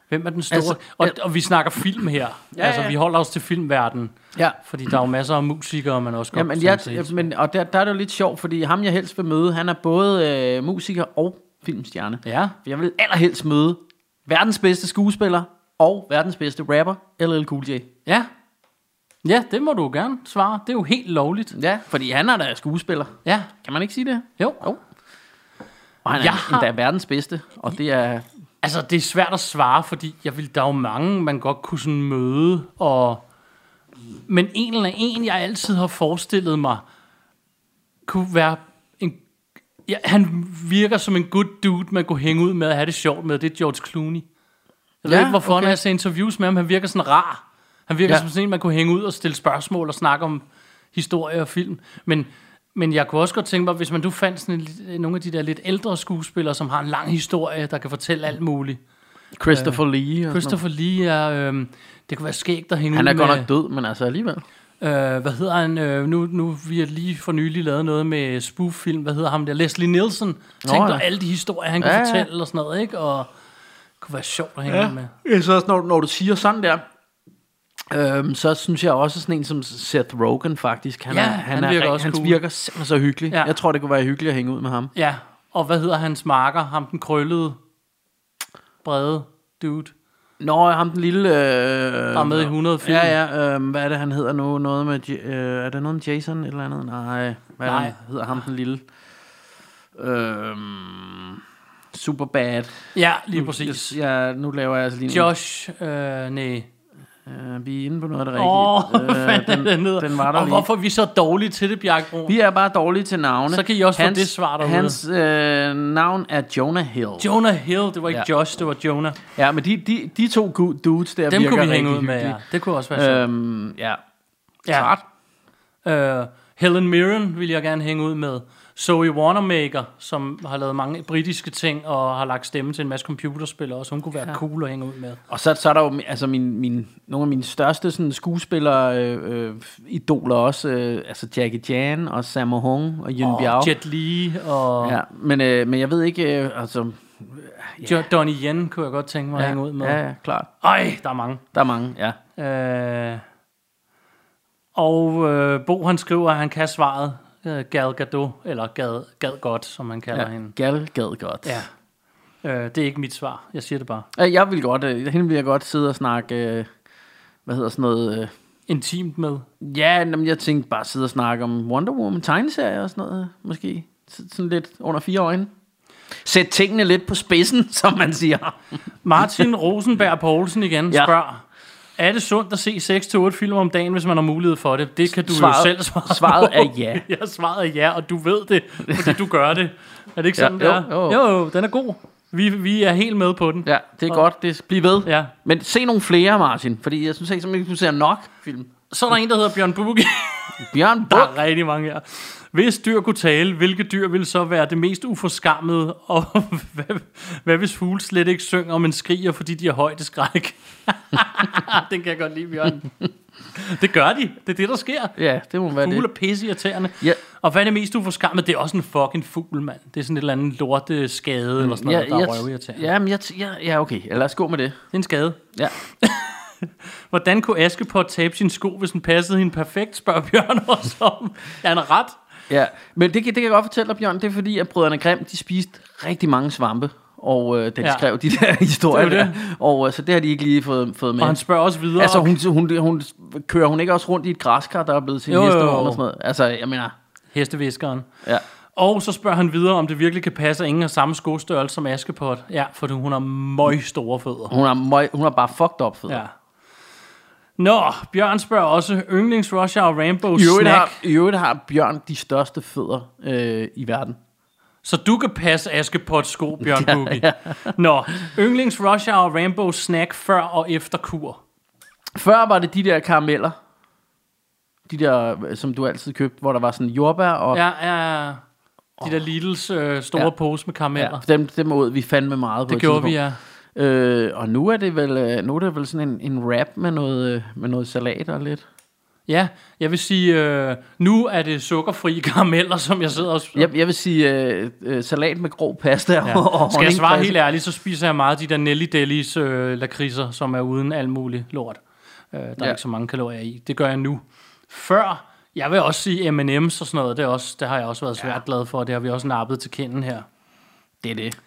Speaker 3: Hvem er den store? Altså,
Speaker 4: Altså,
Speaker 3: og,
Speaker 4: jeg-
Speaker 3: og vi snakker film her. Ja, altså,
Speaker 4: ja.
Speaker 3: vi holder os til filmverdenen.
Speaker 4: Ja.
Speaker 3: Fordi der er jo masser af musikere, man også godt
Speaker 4: Jamen, jeg,
Speaker 3: sådan set-
Speaker 4: men, og der, der er det jo lidt sjovt, fordi ham jeg helst vil møde, han er både øh, musiker og filmstjerne.
Speaker 3: Ja.
Speaker 4: Jeg vil allerhelst møde verdens bedste skuespiller og verdens bedste rapper, LL Cool J.
Speaker 3: ja. Ja, det må du gerne svare. Det er jo helt lovligt.
Speaker 4: Ja, fordi han er da skuespiller.
Speaker 3: Ja,
Speaker 4: Kan man ikke sige det?
Speaker 3: jo.
Speaker 4: Jo. Og han er
Speaker 3: Jeg
Speaker 4: ja.
Speaker 3: har-
Speaker 4: endda verdens bedste, og det er...
Speaker 3: Altså, det er svært at svare, fordi jeg vil, der er jo mange, man godt kunne sådan møde, og... Men en eller en, jeg altid har forestillet mig, kunne være en... Ja, han virker som en good dude, man kunne hænge ud med og have det sjovt med. Det er George Clooney. Jeg ved
Speaker 4: Ja,
Speaker 3: ikke, hvorfor okay.
Speaker 4: okay.
Speaker 3: når jeg ser interviews med ham, han virker sådan rar. Han virker
Speaker 4: Ja.
Speaker 3: ja. som sådan en, man kunne hænge ud og stille spørgsmål og snakke om historie og film. Men, men jeg kunne også godt tænke mig, hvis man du fandt sådan en, lidt- øh, nogle af de der lidt ældre skuespillere, som har en lang historie, der kan fortælle alt muligt.
Speaker 4: Christopher Lee. Og
Speaker 3: Øh, Christopher Lee er... Øh, det kunne være skægt at hænge
Speaker 4: Han er
Speaker 3: ud med,
Speaker 4: godt nok død, men altså alligevel.
Speaker 3: Øh, hvad hedder han? Øh, nu, nu vi har lige for nylig lavet noget med spoof-film. Hvad hedder ham der? Leslie Nielsen. Tænk
Speaker 4: ja.
Speaker 3: dig alle de historier, han kunne
Speaker 4: Ja, ja.
Speaker 3: fortælle og sådan noget, ikke? Og det kunne være sjovt at hænge ja. med.
Speaker 4: Jeg synes øh, også, når, når du siger sådan der, øhm, så synes jeg også sådan en som Seth Rogen faktisk. Han
Speaker 3: Ja,
Speaker 4: er,
Speaker 3: han
Speaker 4: er,
Speaker 3: virker
Speaker 4: rigt-
Speaker 3: også
Speaker 4: han
Speaker 3: cool.
Speaker 4: virker simpelthen så hyggelig.
Speaker 3: Ja.
Speaker 4: Ja. Jeg tror, det kunne være hyggeligt at hænge ud med ham.
Speaker 3: Ja, og hvad hedder hans marker? Ham den krøllede, brede dude.
Speaker 4: Nå, ham den lille... Øh,
Speaker 3: Der er med i 100 film.
Speaker 4: Ja, ja. Øh, hvad er det, han hedder nu? Noget med, J- øh, er det noget med Jason et eller andet? Nej. Hvad Er
Speaker 3: Nej.
Speaker 4: det, han hedder ham den lille? Øh, Superbad.
Speaker 3: Ja,
Speaker 4: Hmm,
Speaker 3: lige præcis.
Speaker 4: Ja, nu laver jeg altså lige... en-
Speaker 3: Josh, øh, nej.
Speaker 4: Øh, vi er inde på noget af det
Speaker 3: Åh,
Speaker 4: rigtige.
Speaker 3: hvad fanden er det, den, hedder?
Speaker 4: øh, den var der
Speaker 3: og
Speaker 4: lige.
Speaker 3: hvorfor er vi så dårlige til det, Bjarke Brun?
Speaker 4: Vi er bare dårlige til navne.
Speaker 3: Så kan I også få det svar derude.
Speaker 4: Hans øh, navn er Jonah Hill.
Speaker 3: Jonah Hill, det var ikke
Speaker 4: Ja.
Speaker 3: ja. Josh, det var Jonah.
Speaker 4: ja, men de, de, de to gu- dudes der
Speaker 3: Dem
Speaker 4: virker
Speaker 3: kunne vi hænge
Speaker 4: rigtig
Speaker 3: ud med, ja.
Speaker 4: hyggelige.
Speaker 3: Det kunne også være sjovt.
Speaker 4: Øhm, ja.
Speaker 3: Ja.
Speaker 4: Klart.
Speaker 3: Uh, Helen Mirren vil jeg gerne hænge ud med. Zoe Wanamaker, som har lavet mange britiske ting og har lagt stemme til en masse computerspil også. Hun kunne være ja. cool at hænge ud med.
Speaker 4: Og så, så er der jo altså min, min, nogle af mine største sådan, skuespillere, øh, øh, idoler også, øh, altså Jackie Chan og Sammo Hung og Yuen
Speaker 3: Og
Speaker 4: Biao.
Speaker 3: Jet Li og ja.
Speaker 4: Ja, men, øh, men jeg ved ikke, øh, altså...
Speaker 3: yeah. Donnie Yen kunne jeg godt tænke mig at
Speaker 4: Ja,
Speaker 3: hænge ud med.
Speaker 4: ja, ja, klart.
Speaker 3: Ej, der er mange.
Speaker 4: Der er mange, ja.
Speaker 3: Uh, og uh, Bo han skriver, at han kan svaret. Uh, Gal Gadot, eller Gad, Gad Godt, som man kalder ja.
Speaker 4: ja.
Speaker 3: hende.
Speaker 4: Gal gad godt.
Speaker 3: Ja. Uh, det er ikke mit svar. Jeg siger det bare.
Speaker 4: Øh, Jeg vil godt, øh, hende vil jeg godt sidde og snakke, øh, hvad hedder sådan noget, øh,
Speaker 3: Intimt med.
Speaker 4: ja, jamen, jeg tænkte bare sidde og snakke om Wonder Woman tegneserier og sådan noget, øh, måske, S- sådan lidt under fire øjne. Sæt tingene lidt på spidsen, som man siger.
Speaker 3: Martin Rosenberg Poulsen igen
Speaker 4: Ja.
Speaker 3: ja. spørger, er det sundt at se 6-8 film om dagen, hvis man har mulighed for det? Det kan du
Speaker 4: Svaret-
Speaker 3: jo selv svare
Speaker 4: svaret
Speaker 3: på.
Speaker 4: er ja.
Speaker 3: Ja, svaret er ja, og du ved det, fordi du gør det. Er det ikke sådan,
Speaker 4: jo,
Speaker 3: det er?
Speaker 4: jo.
Speaker 3: jo, jo, den er god. Vi, vi er helt med på den.
Speaker 4: Ja, det er og, godt, det bliver ved.
Speaker 3: Ja.
Speaker 4: Men se nogle flere, Martin, fordi jeg synes ikke, simpelthen ikke, du ser nok film.
Speaker 3: Så er der en, der hedder Bjørn Bugge.
Speaker 4: Bjørn
Speaker 3: Der
Speaker 4: Buk,
Speaker 3: er rigtig mange her. Hvis dyr kunne tale, hvilke dyr ville så være det mest uforskammede? Og hvad, hvad hvis fugle slet ikke synger, men skriger, fordi de har højdeskræk? Den kan jeg godt lide, Bjørn. Det gør de. Det er det, der sker.
Speaker 4: ja, det må være
Speaker 3: Fugle
Speaker 4: det.
Speaker 3: er pisseirriterende.
Speaker 4: Ja.
Speaker 3: Og hvad er det mest uforskammet? Det er også en fucking fugl, mand. Det er sådan et eller andet lorteskade, mm. eller sådan noget, der er
Speaker 4: jeg,
Speaker 3: røvirriterende.
Speaker 4: ja, men jeg, ja, ja, okay, lad os gå med det.
Speaker 3: Det er en skade.
Speaker 4: Ja.
Speaker 3: Hvordan kunne Askepot tabe sin sko, hvis den passede hende perfekt, spørger Bjørn også om. Er han ret?
Speaker 4: Ja, men det, kan- det kan jeg godt fortælle dig, Bjørn. Det er fordi, at brødrene Grimm, de spiste rigtig mange svampe, og øh, da de ja.
Speaker 3: Ja.
Speaker 4: skrev de der historier.
Speaker 3: Det er jo
Speaker 4: der. Og øh, så det har de ikke lige fået, fået med.
Speaker 3: Og han spørger også videre.
Speaker 4: altså, hun, hun, hun, kører hun ikke også rundt i et græskar, der er blevet til en
Speaker 3: Jo, jo,
Speaker 4: hestevogn
Speaker 3: jo.
Speaker 4: og sådan noget? Altså, jeg mener,
Speaker 3: Hesteviskeren.
Speaker 4: ja.
Speaker 3: Og så spørger han videre, om det virkelig kan passe, at ingen har samme skostørrelse som Askepot. Ja, for hun har møg store fødder.
Speaker 4: Hun er, møg, hun er bare fucked up fed.
Speaker 3: Ja. Nå, Bjørn spørger også, yndlings Russia og Rambo
Speaker 4: I øvrigt,
Speaker 3: snack.
Speaker 4: har, I øvrigt har Bjørn de største fødder øh, i verden.
Speaker 3: Så du kan passe Askepots sko, Bjørn Boogie. ja, ja. Nå, yndlings Russia og Rambo snack før og efter kur.
Speaker 4: Før var det de der karameller, de der, øh, som du altid købte, hvor der var sådan jordbær og...
Speaker 3: Ja, ja, ja. de der Lidls øh, store
Speaker 4: Ja.
Speaker 3: ja. pose med karameller. Ja.
Speaker 4: dem, dem åd vi fandme meget på
Speaker 3: Det
Speaker 4: et
Speaker 3: gjorde
Speaker 4: tidspunkt.
Speaker 3: vi, ja.
Speaker 4: Øh, og nu er det vel øh, nu er det vel sådan en, en wrap med noget øh, med noget salat og lidt.
Speaker 3: Ja, jeg vil sige, øh, nu er det sukkerfri karameller, som jeg sidder og...
Speaker 4: Jeg, jeg vil sige øh, øh, salat med grov pasta ja. og
Speaker 3: Ja.
Speaker 4: og
Speaker 3: Skal jeg svare
Speaker 4: honningfresse.
Speaker 3: helt ærligt, så spiser jeg meget de der Nelly Delis øh, lakridser, som er uden alt muligt lort. Øh, der er
Speaker 4: Ja.
Speaker 3: ikke så mange kalorier i. Det gør jeg nu. Før, jeg vil også sige M&M's og sådan noget, det, er også, det har jeg også været svært glad for, og det har vi også nappet til kinden her.
Speaker 4: Det er det.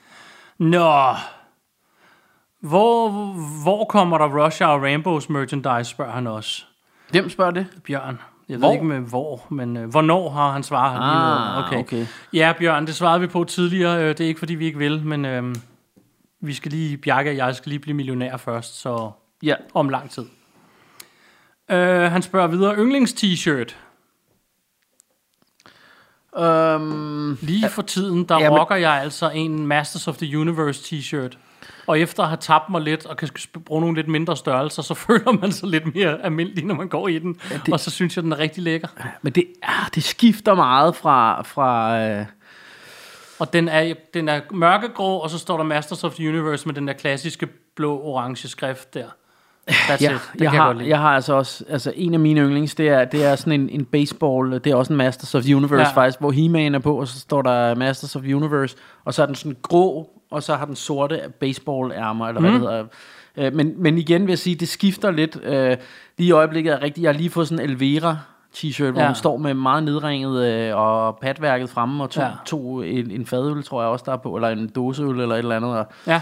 Speaker 3: Nå, hvor, hvor kommer der Russia og Rambos merchandise, spørger han også.
Speaker 4: Hvem spørger det?
Speaker 3: Bjørn, Jeg
Speaker 4: Hvor?
Speaker 3: ved ikke med hvor, men øh, hvornår har han svaret her
Speaker 4: Ah,
Speaker 3: lige nu.
Speaker 4: okay.
Speaker 3: Ja, Bjørn, det svarede vi på tidligere. Øh, Det er ikke, fordi vi ikke vil, men øh, vi skal lige, Bjarke og jeg skal lige blive millionær først, så
Speaker 4: Ja.
Speaker 3: om lang tid. Øh, han spørger videre, yndlings-t-shirt.
Speaker 4: Øhm,
Speaker 3: Lige for tiden, der
Speaker 4: Ja, men-
Speaker 3: rocker jeg altså en Masters of the Universe t-shirt. Og efter at have tabt mig lidt, og kan sp- bruge nogle lidt mindre størrelser, så føler man sig lidt mere almindelig, når man går i den. Ja, det... Og så synes jeg, den er rigtig lækker.
Speaker 4: men det, ah, det skifter meget fra... fra øh,
Speaker 3: Og den er, den er mørkegrå, og så står der Masters of the Universe med den der klassiske blå-orange skrift der. That's ja,
Speaker 4: ja,
Speaker 3: it. Den
Speaker 4: jeg,
Speaker 3: kan jeg
Speaker 4: har,
Speaker 3: godt lide.
Speaker 4: jeg har altså også... Altså, en af mine yndlings, det er, det er sådan en, en baseball... Det er også en Masters of the Universe,
Speaker 3: Ja.
Speaker 4: ja. faktisk, hvor He-Man er på, og så står der Masters of the Universe, og så er den sådan grå, og så har den sorte baseball-ærmer, eller hvad
Speaker 3: Mhm.
Speaker 4: det hedder. Øh, men, men igen vil jeg sige, det skifter lidt. Øh, lige i øjeblikket er rigtigt... Jeg har lige fået sådan en Elvira t-shirt, hvor
Speaker 3: Ja.
Speaker 4: ja. hun står med meget nedringet øh, og patværket fremme, og to,
Speaker 3: Ja.
Speaker 4: ja. to en, en fadøl, tror jeg også, der er på, eller en dåseøl, eller et eller andet. Og
Speaker 3: Ja.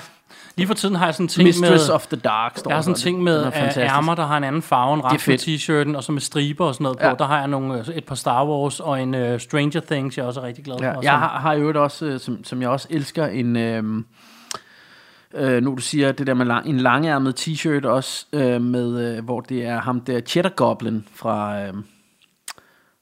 Speaker 3: Lige for tiden har jeg sådan en ting
Speaker 4: Mistress
Speaker 3: med...
Speaker 4: of the Dark står
Speaker 3: Jeg har sådan en
Speaker 4: der.
Speaker 3: ting med
Speaker 4: Den er
Speaker 3: øh,
Speaker 4: fantastisk.
Speaker 3: ærmer, der har en anden farve end resten af
Speaker 4: fedt.
Speaker 3: t-shirten, og så med striber og sådan noget på.
Speaker 4: Ja.
Speaker 3: Der har jeg nogle, øh, et par Star Wars og en uh, Stranger Things, jeg også er rigtig glad for.
Speaker 4: Ja,
Speaker 3: og
Speaker 4: jeg
Speaker 3: sådan-
Speaker 4: har, har i øvrigt også, øh, som, som jeg også elsker, en... øhm, Øh, nu du siger det der med lang, en langærmet t-shirt også, øh, med, øh, hvor det er ham der Cheddar Goblin fra, øh,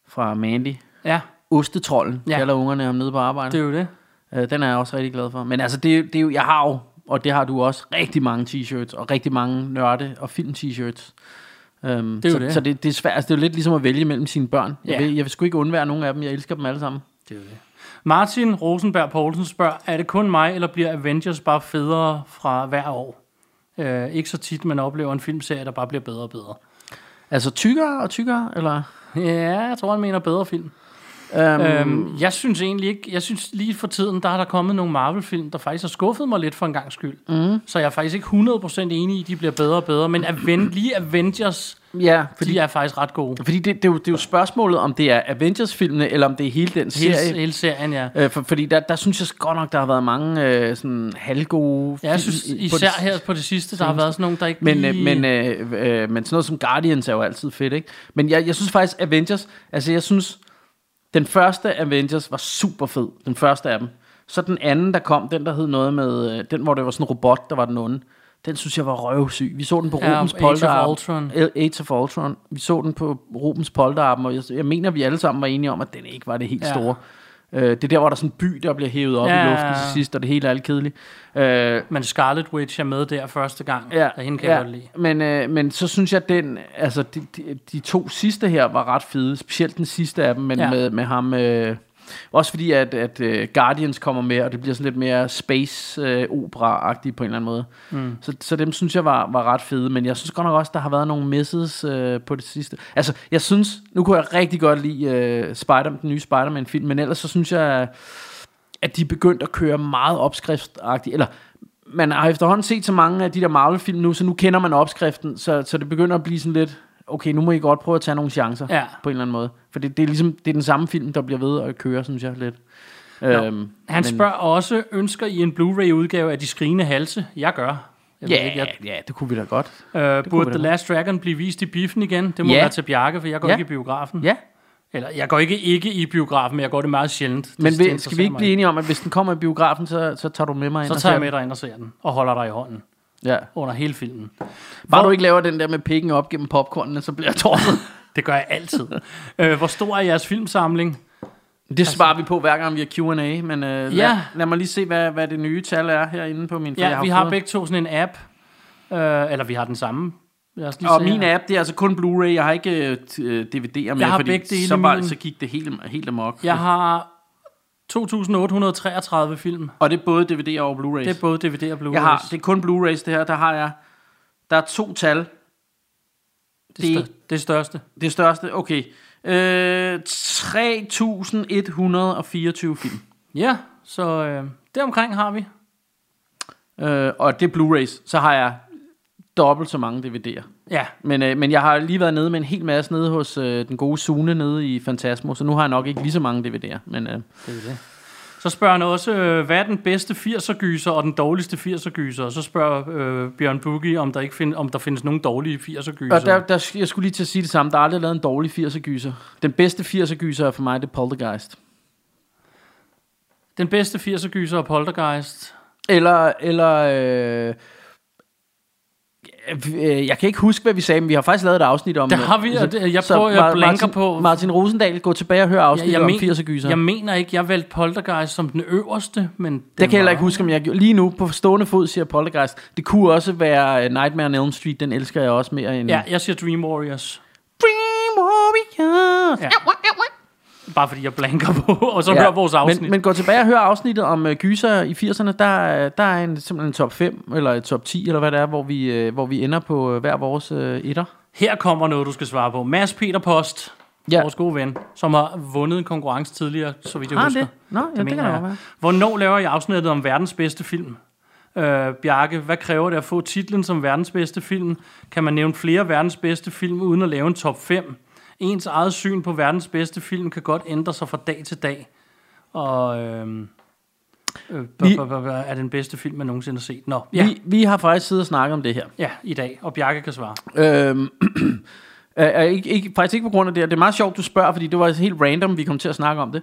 Speaker 4: fra Mandy.
Speaker 3: ja,
Speaker 4: Ostetrollen,
Speaker 3: Ja.
Speaker 4: ja. kalder ungerne ham nede på
Speaker 3: det
Speaker 4: arbejde.
Speaker 3: er jo det.
Speaker 4: Øh, den er jeg også rigtig glad for. Men altså, det, er jo- det er jo, jeg har jo, og det har du også, rigtig mange t-shirts, og rigtig mange nørde- og film-t-shirts. Øhm,
Speaker 3: er jo
Speaker 4: så,
Speaker 3: det.
Speaker 4: så det, det er svært. Altså, det er jo lidt ligesom at vælge mellem sine børn. Jeg,
Speaker 3: Ja.
Speaker 4: vil, jeg vil sgu ikke undvære nogen af dem. Jeg elsker dem alle sammen.
Speaker 3: det, er jo det. Martin Rosenberg Poulsen spørger, er det kun mig, eller bliver Avengers bare federe fra hver år? Uh, ikke så tit, man oplever en filmserie, der bare bliver bedre og bedre.
Speaker 4: Altså tykkere og tykkere, eller?
Speaker 3: Ja, jeg tror, han mener bedre film.
Speaker 4: Øhm,
Speaker 3: Øhm, jeg synes egentlig ikke, jeg synes lige for tiden, der er der kommet nogle Marvel-film, der faktisk har skuffet mig lidt for en gang skyld. Mm. Så jeg er faktisk ikke 100% enig i, at de bliver bedre og bedre, men Aven- lige Avengers,
Speaker 4: ja, fordi,
Speaker 3: de er faktisk ret gode.
Speaker 4: fordi det, det, er jo, det er jo spørgsmålet, om det er Avengers-filmene, eller om det er hele den
Speaker 3: Hele,
Speaker 4: serie.
Speaker 3: hele serien, ja.
Speaker 4: Øh, for, fordi der, der synes jeg godt nok, der har været mange øh, sådan halvgode
Speaker 3: Ja, Jeg
Speaker 4: film
Speaker 3: synes
Speaker 4: i- på det
Speaker 3: især
Speaker 4: s-
Speaker 3: her på det sidste, der har været sådan nogle, der ikke
Speaker 4: Men, øh,
Speaker 3: lige...
Speaker 4: men, øh, øh, men sådan noget som Guardians er jo altid fedt, ikke? Men jeg, jeg synes faktisk, Avengers... Altså, jeg synes, den første Avengers var super fed. Den første af dem. Så den anden, der kom, den der hed noget med... øh, Den, hvor det var sådan en robot, der var den onde. Den synes jeg var røvsyg. Vi så den på
Speaker 3: Ja,
Speaker 4: Rubens
Speaker 3: Age of
Speaker 4: Polterappen.
Speaker 3: Ultron.
Speaker 4: Age Age of Ultron. Vi så den på Rubens Polterappen, og jeg, jeg mener, vi alle sammen var enige om, at den ikke var det helt
Speaker 3: Ja.
Speaker 4: ja. store. Øh, det er der, hvor der er sådan en by, der bliver hævet op
Speaker 3: Ja.
Speaker 4: ja. i luften til sidst, og det hele er alt kedeligt. Øh,
Speaker 3: men Scarlet Witch er med der første gang,
Speaker 4: Ja,
Speaker 3: ja, og hende kan ja. jeg godt lide.
Speaker 4: Men, øh, men så synes jeg, den, altså, de, de, de to sidste her var ret fede. Specielt den sidste af dem, men
Speaker 3: Ja.
Speaker 4: ja. med, med ham... Øh, også fordi, at, at øh, Guardians kommer med, og det bliver sådan lidt mere space-opera-agtigt på en eller anden måde. Mm. Så, så dem synes jeg var, var ret fede, men jeg synes godt nok også, der har været nogle misses øh, på det sidste. Altså, jeg synes... Nu kunne jeg rigtig godt lide øh, Spider, den nye Spider-Man-film, men ellers så synes jeg at de er begyndt at køre meget opskriftagtigt, eller man har efterhånden set så mange af de der Marvel-film nu, så nu kender man opskriften, så, så det begynder at blive sådan lidt, okay, nu må I godt prøve at tage nogle chancer,
Speaker 3: Ja.
Speaker 4: på en eller anden måde. For det, det er ligesom, det er den samme film, der bliver ved at køre, synes jeg, lidt. Øhm,
Speaker 3: Han men...
Speaker 4: men-
Speaker 3: spørger også, ønsker I en Blu-ray-udgave af De Skrigende Halse? Jeg gør. Jeg ved ikke,
Speaker 4: Ja,
Speaker 3: jeg
Speaker 4: ja, det kunne vi da godt.
Speaker 3: Øh,
Speaker 4: kunne vi
Speaker 3: burde
Speaker 4: da
Speaker 3: The
Speaker 4: godt.
Speaker 3: Last Dragon blive vist i biffen igen? Det må
Speaker 4: Ja.
Speaker 3: være til Bjarke, for jeg går
Speaker 4: Ja.
Speaker 3: ikke i biografen.
Speaker 4: Ja,
Speaker 3: Eller, jeg går ikke ikke i biografen, men jeg går det meget sjældent. Det,
Speaker 4: men
Speaker 3: det
Speaker 4: vi, skal
Speaker 3: interesserer
Speaker 4: vi ikke
Speaker 3: mig
Speaker 4: blive enige om, at hvis den kommer i biografen, så, så tager du med mig ind
Speaker 3: Så
Speaker 4: og
Speaker 3: tager jeg
Speaker 4: ser
Speaker 3: med dig ind og ser den, og holder dig i hånden
Speaker 4: den? Ja.
Speaker 3: under hele filmen.
Speaker 4: Bare du ikke laver den der med pikken op gennem popcornen, så bliver jeg tårnet.
Speaker 3: Det gør jeg altid. øh, hvor stor er jeres filmsamling?
Speaker 4: Det altså, svarer vi på hver gang vi har Q&A, men øh, lad,
Speaker 3: Ja.
Speaker 4: lad mig lige se, hvad, hvad det nye tal er herinde på min for jeg
Speaker 3: Ja, vi har
Speaker 4: fået-
Speaker 3: begge to sådan en app. Øh, eller vi har den samme. Lad os lige
Speaker 4: Og
Speaker 3: se
Speaker 4: min
Speaker 3: her.
Speaker 4: app, det er altså kun Blu-ray, jeg har ikke øh, t- øh, DVD'er med,
Speaker 3: har begge dele
Speaker 4: fordi
Speaker 3: i
Speaker 4: så, var,
Speaker 3: min.
Speaker 4: så gik det helt, helt amok.
Speaker 3: Jeg har 2.833 film.
Speaker 4: Og det er både DVD'er og Blu-rays.
Speaker 3: Det er både DVD og Blu-ray.
Speaker 4: jeg har, det er kun Blu-rays det her, der har jeg, der er to tal,
Speaker 3: det, er stør- det største.
Speaker 4: det største, okay, øh, 3.124 film,
Speaker 3: Ja, så øh, det omkring har vi.
Speaker 4: øh, og det er Blu-rays, så har jeg dobbelt så mange DVD'er.
Speaker 3: Ja,
Speaker 4: Men, øh, men jeg har lige været nede med en hel masse nede hos øh, den gode Sune nede i Fantasmo, så nu har jeg nok ikke lige så mange DVD'er. Men, øh,
Speaker 3: det er det. Så spørger han også, øh, hvad er den bedste 80'er-gyser og den dårligste 80'er-gyser? Og så spørger øh, Bjørn Boogie, om der, ikke find, om der findes nogen dårlige 80'er-gyser.
Speaker 4: Og der, der, jeg skulle lige til at sige det samme. Der er aldrig lavet en dårlig 80'er gyser. Den bedste 80'er gyser er for mig, det er Poltergeist.
Speaker 3: Den bedste 80'er-gyser er Poltergeist.
Speaker 4: Eller, eller øh, øh, jeg kan ikke huske, hvad vi sagde, men vi har faktisk lavet et afsnit om
Speaker 3: Der har vi, og det- jeg
Speaker 4: Så
Speaker 3: prøver- jeg
Speaker 4: Mar-
Speaker 3: blanker
Speaker 4: Martin,
Speaker 3: på-
Speaker 4: Martin Rosendal, gå tilbage og hør afsnittet om
Speaker 3: men-
Speaker 4: 80'er gyser.
Speaker 3: jeg mener ikke, jeg valgte Poltergeist som den øverste, men... Den
Speaker 4: Det kan jeg heller
Speaker 3: var-
Speaker 4: ikke huske, om jeg gjorde. Lige nu, på stående fod, siger Poltergeist. Det kunne også være øh, Nightmare on Elm Street. Den elsker jeg også mere end...
Speaker 3: Ja, jeg siger Dream Warriors.
Speaker 4: Dream Warriors.
Speaker 3: Ja. Bare fordi jeg blanker på, og så ja.
Speaker 4: Ja,
Speaker 3: hører vores afsnit.
Speaker 4: Men, men gå tilbage og hør afsnittet om uh, gyser i 80'erne. Der, er- der er en, simpelthen en top 5, eller et top 10, eller hvad det er, hvor vi, uh, hvor vi ender på uh, hver vores uh, etter.
Speaker 3: Her kommer noget, du skal svare på. Mads Peter Post, ja.
Speaker 4: Ja.
Speaker 3: vores gode ven, som har vundet en konkurrence tidligere, så vidt jeg
Speaker 4: Har han
Speaker 3: husker.
Speaker 4: det? Nå, ja, det
Speaker 3: mener
Speaker 4: kan da
Speaker 3: jeg.
Speaker 4: godt være.
Speaker 3: Hvornår laver jeg afsnittet om verdens bedste film? Øh, Bjarke, hvad kræver det at få titlen som verdens bedste film? Kan man nævne flere verdens bedste film uden at lave en top 5? Ens eget syn på verdens bedste film kan godt ændre sig fra dag til dag. Og øhm, øh,
Speaker 4: Vi-
Speaker 3: er det den bedste film, man nogensinde har set? Nå,
Speaker 4: Ja.
Speaker 3: ja,
Speaker 4: Vi, vi har faktisk siddet og snakket om det her.
Speaker 3: ja, i dag. Og Bjarke kan svare.
Speaker 4: Øhm, øh, øh, ikke, ikke, faktisk ikke på grund af det her. Det er meget sjovt, du spørger, fordi det var helt random, vi kom til at snakke om det.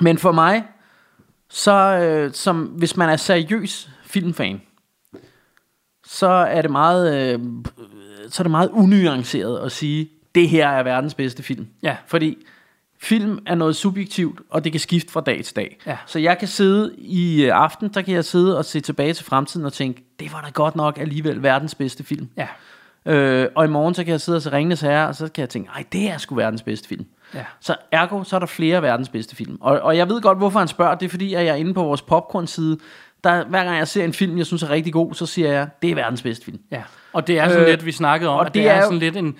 Speaker 4: Men for mig, så øh, som, hvis man er seriøs filmfan, så er det meget, øh, så er det meget unuanceret at sige, det her er verdens bedste film.
Speaker 3: Ja.
Speaker 4: Fordi film er noget subjektivt, og det kan skifte fra dag til dag.
Speaker 3: Ja.
Speaker 4: Så jeg kan sidde i øh, aften, der kan jeg sidde og se tilbage til fremtiden og tænke, det var da godt nok alligevel verdens bedste film.
Speaker 3: Ja,
Speaker 4: Øh, og i morgen, så kan jeg sidde og se Ringnes Herre, og så kan jeg tænke, ej, det er sgu verdens bedste film.
Speaker 3: Ja.
Speaker 4: Så ergo, så er der flere af verdens bedste film. Og, og jeg ved godt, hvorfor han spørger. Det er fordi, at jeg er inde på vores popcorn-side. Der, hver gang jeg ser en film, jeg synes er rigtig god, så siger jeg, det er verdens bedste film.
Speaker 3: ja. Og det er sådan øh,
Speaker 4: Øh,
Speaker 3: lidt, vi snakkede om, og
Speaker 4: og
Speaker 3: at det,
Speaker 4: det
Speaker 3: er,
Speaker 4: er jo-
Speaker 3: sådan lidt en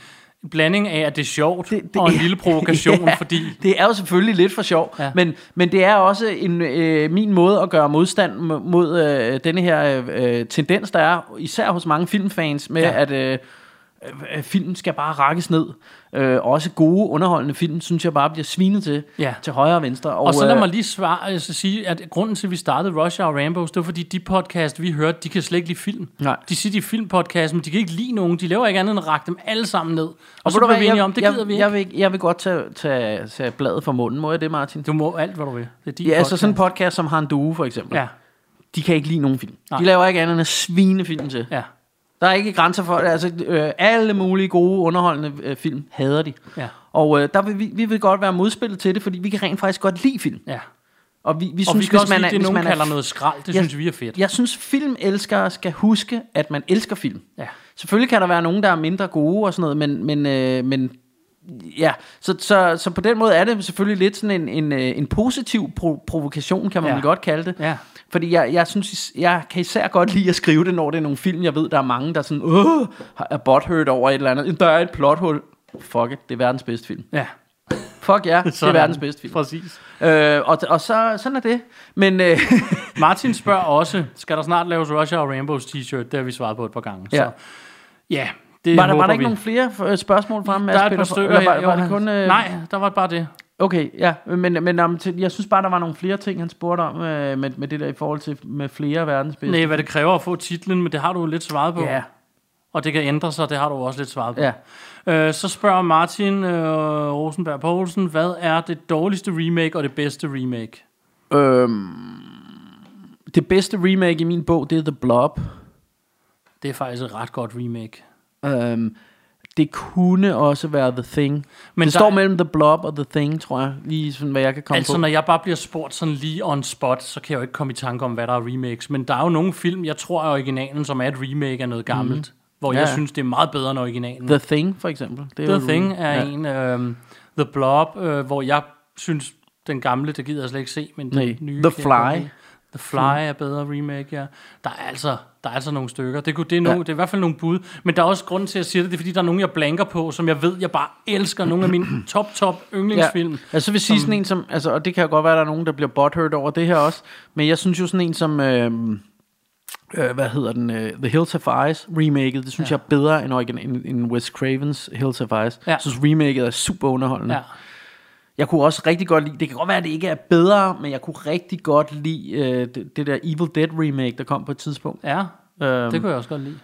Speaker 3: blanding af, at det er sjovt, det,
Speaker 4: Det-
Speaker 3: det,
Speaker 4: det-
Speaker 3: og en lille provokation,
Speaker 4: Ja,
Speaker 3: ja. fordi...
Speaker 4: Det er jo selvfølgelig lidt for sjov,
Speaker 3: Ja.
Speaker 4: ja. men, men det er også en, øh, min måde at gøre modstand m- mod øh, denne her øh, tendens, der er, især hos mange filmfans, med
Speaker 3: Ja.
Speaker 4: ja. at øh, øh, filmen skal bare rakkes ned. Øh, også gode, underholdende film, synes jeg bare bliver svinet til,
Speaker 3: Ja.
Speaker 4: ja. til højre og venstre.
Speaker 3: Og så lad
Speaker 4: øh,
Speaker 3: mig lige svare, altså sige, at grunden til, at vi startede Rush Hour Rambos, det var fordi, de podcast, vi hørte, de kan slet ikke lide film.
Speaker 4: Nej.
Speaker 3: De siger, de er filmpodcast, men de kan ikke lide nogen. De laver ikke andet end at række dem alle sammen ned. Og, og
Speaker 4: ved
Speaker 3: så
Speaker 4: du
Speaker 3: blev
Speaker 4: hvad,
Speaker 3: vi enige
Speaker 4: jeg-
Speaker 3: om, det
Speaker 4: jeg-
Speaker 3: gider vi ikke.
Speaker 4: Jeg vil, jeg vil godt tage, tage, tage bladet fra munden, må jeg det, Martin?
Speaker 3: Du må alt, hvad du vil. Det er din
Speaker 4: Ja,
Speaker 3: podcast.
Speaker 4: altså sådan en podcast som Har en Due, for eksempel.
Speaker 3: Ja,
Speaker 4: De kan ikke lide nogen film.
Speaker 3: Nej.
Speaker 4: De laver ikke andet end at svine film til.
Speaker 3: ja,
Speaker 4: Der er ikke grænser for det. Altså, øh, alle mulige gode, underholdende øh, film hader de.
Speaker 3: Ja.
Speaker 4: Og øh, der vil, vi, vi vil godt være modspillet til det, fordi vi kan rent faktisk godt lide film.
Speaker 3: ja.
Speaker 4: Og vi, vi
Speaker 3: Og
Speaker 4: synes,
Speaker 3: vi kan
Speaker 4: hvis
Speaker 3: også
Speaker 4: man
Speaker 3: lide,
Speaker 4: er,
Speaker 3: det
Speaker 4: hvis
Speaker 3: nogen
Speaker 4: man
Speaker 3: kalder
Speaker 4: er,
Speaker 3: noget skrald. Det
Speaker 4: Jeg-
Speaker 3: synes vi er fedt.
Speaker 4: Jeg synes, filmelskere skal huske, at man elsker film.
Speaker 3: Ja.
Speaker 4: Selvfølgelig kan der være nogen, der er mindre gode og sådan noget, men, men, øh, men ja, så, så, så på den måde er det selvfølgelig lidt sådan en, en, øh, en positiv pro- provokation, kan man
Speaker 3: Ja.
Speaker 4: ja. vel godt kalde det.
Speaker 3: Ja.
Speaker 4: Fordi jeg, jeg synes, is- jeg kan især godt lide at skrive det, når det er nogle film, jeg ved, der er mange, der er sådan, åh, er butthurt over et eller andet. Der er et plothul. Fuck it, det er verdens bedste film.
Speaker 3: Ja,
Speaker 4: Fuck ja, yeah, det er
Speaker 3: Sådan.
Speaker 4: verdens bedste film.
Speaker 3: præcis.
Speaker 4: Øh, og, og så, sådan er det. Men øh,
Speaker 3: Martin spørger også, skal der snart laves Russia og Rainbows t-shirt? Det har vi svaret på et par gange.
Speaker 4: Ja.
Speaker 3: Så, ja det
Speaker 4: var, der, var
Speaker 3: håber
Speaker 4: der ikke
Speaker 3: vi.
Speaker 4: nogle flere øh, spørgsmål frem?
Speaker 3: Der er et par stykker
Speaker 4: eller,
Speaker 3: her.
Speaker 4: var, var
Speaker 3: Jo,
Speaker 4: det kun, øh,
Speaker 3: Nej, der var bare det.
Speaker 4: Okay, ja. Men, men om, til, jeg synes bare, der var nogle flere ting, han spurgte om øh, med, med det der i forhold til med flere af verdens bedste.
Speaker 3: Nej, hvad det kræver at få titlen, men det har du jo lidt svaret på.
Speaker 4: Ja.
Speaker 3: Og det kan ændre sig, det har du også lidt svaret på.
Speaker 4: Ja.
Speaker 3: Øh, så spørger Martin øh, Rosenberg Poulsen, hvad er det dårligste remake og det bedste remake?
Speaker 4: Øhm, det bedste remake i min bog, det er The Blob.
Speaker 3: Det er faktisk et ret godt remake.
Speaker 4: Øhm, det kunne også være The Thing.
Speaker 3: Men
Speaker 4: Men det
Speaker 3: der-
Speaker 4: står mellem The Blob og The Thing, tror jeg. Lige sådan, hvad jeg kan komme
Speaker 3: altså,
Speaker 4: på.
Speaker 3: når jeg bare bliver spurgt sådan lige on spot, så kan jeg jo ikke komme i tanke om, hvad der er remakes. Men der er jo nogle film, jeg tror er originalen, som er et remake af noget gammelt. Mm. Hvor
Speaker 4: Mhm. Ja,
Speaker 3: jeg
Speaker 4: ja.
Speaker 3: synes, det er meget bedre end originalen.
Speaker 4: The Thing, for eksempel. Det
Speaker 3: The
Speaker 4: jo-
Speaker 3: Thing er ja. en, øh, The Blob, øh, hvor jeg synes, den gamle, det gider jeg slet ikke se, men den
Speaker 4: Nej.
Speaker 3: nye...
Speaker 4: The
Speaker 3: kan jeg godt
Speaker 4: Fly.
Speaker 3: lide. The Fly er bedre remake, ja. Der er altså, der er altså nogle stykker. Det, kunne, det, er nogle,
Speaker 4: Ja.
Speaker 3: det er i hvert fald nogle bud, men der er også grund til, at jeg siger det, det er fordi, der er nogen, jeg blanker på, som jeg ved, jeg bare elsker. Nogle af mine top, top yndlingsfilm.
Speaker 4: Ja. Altså, så vil jeg sige sådan en som... Altså, og det kan jo godt være, at der er nogen, der bliver butthurt over det her også. Men jeg synes jo sådan en som... Øh, øh, hvad hedder den? Øh, The Hills Have Eyes remaket. Det synes ja. jeg er bedre end, origin, end, end Wes Cravens Hills Have Eyes.
Speaker 3: Ja.
Speaker 4: Jeg synes, remaket er super underholdende.
Speaker 3: Ja.
Speaker 4: Jeg kunne også rigtig godt lide, det kan godt være, at det ikke er bedre, men jeg kunne rigtig godt lide øh, det, det der Evil Dead remake, der kom på et tidspunkt.
Speaker 3: Ja,
Speaker 4: Øhm.
Speaker 3: det kunne jeg også godt lide.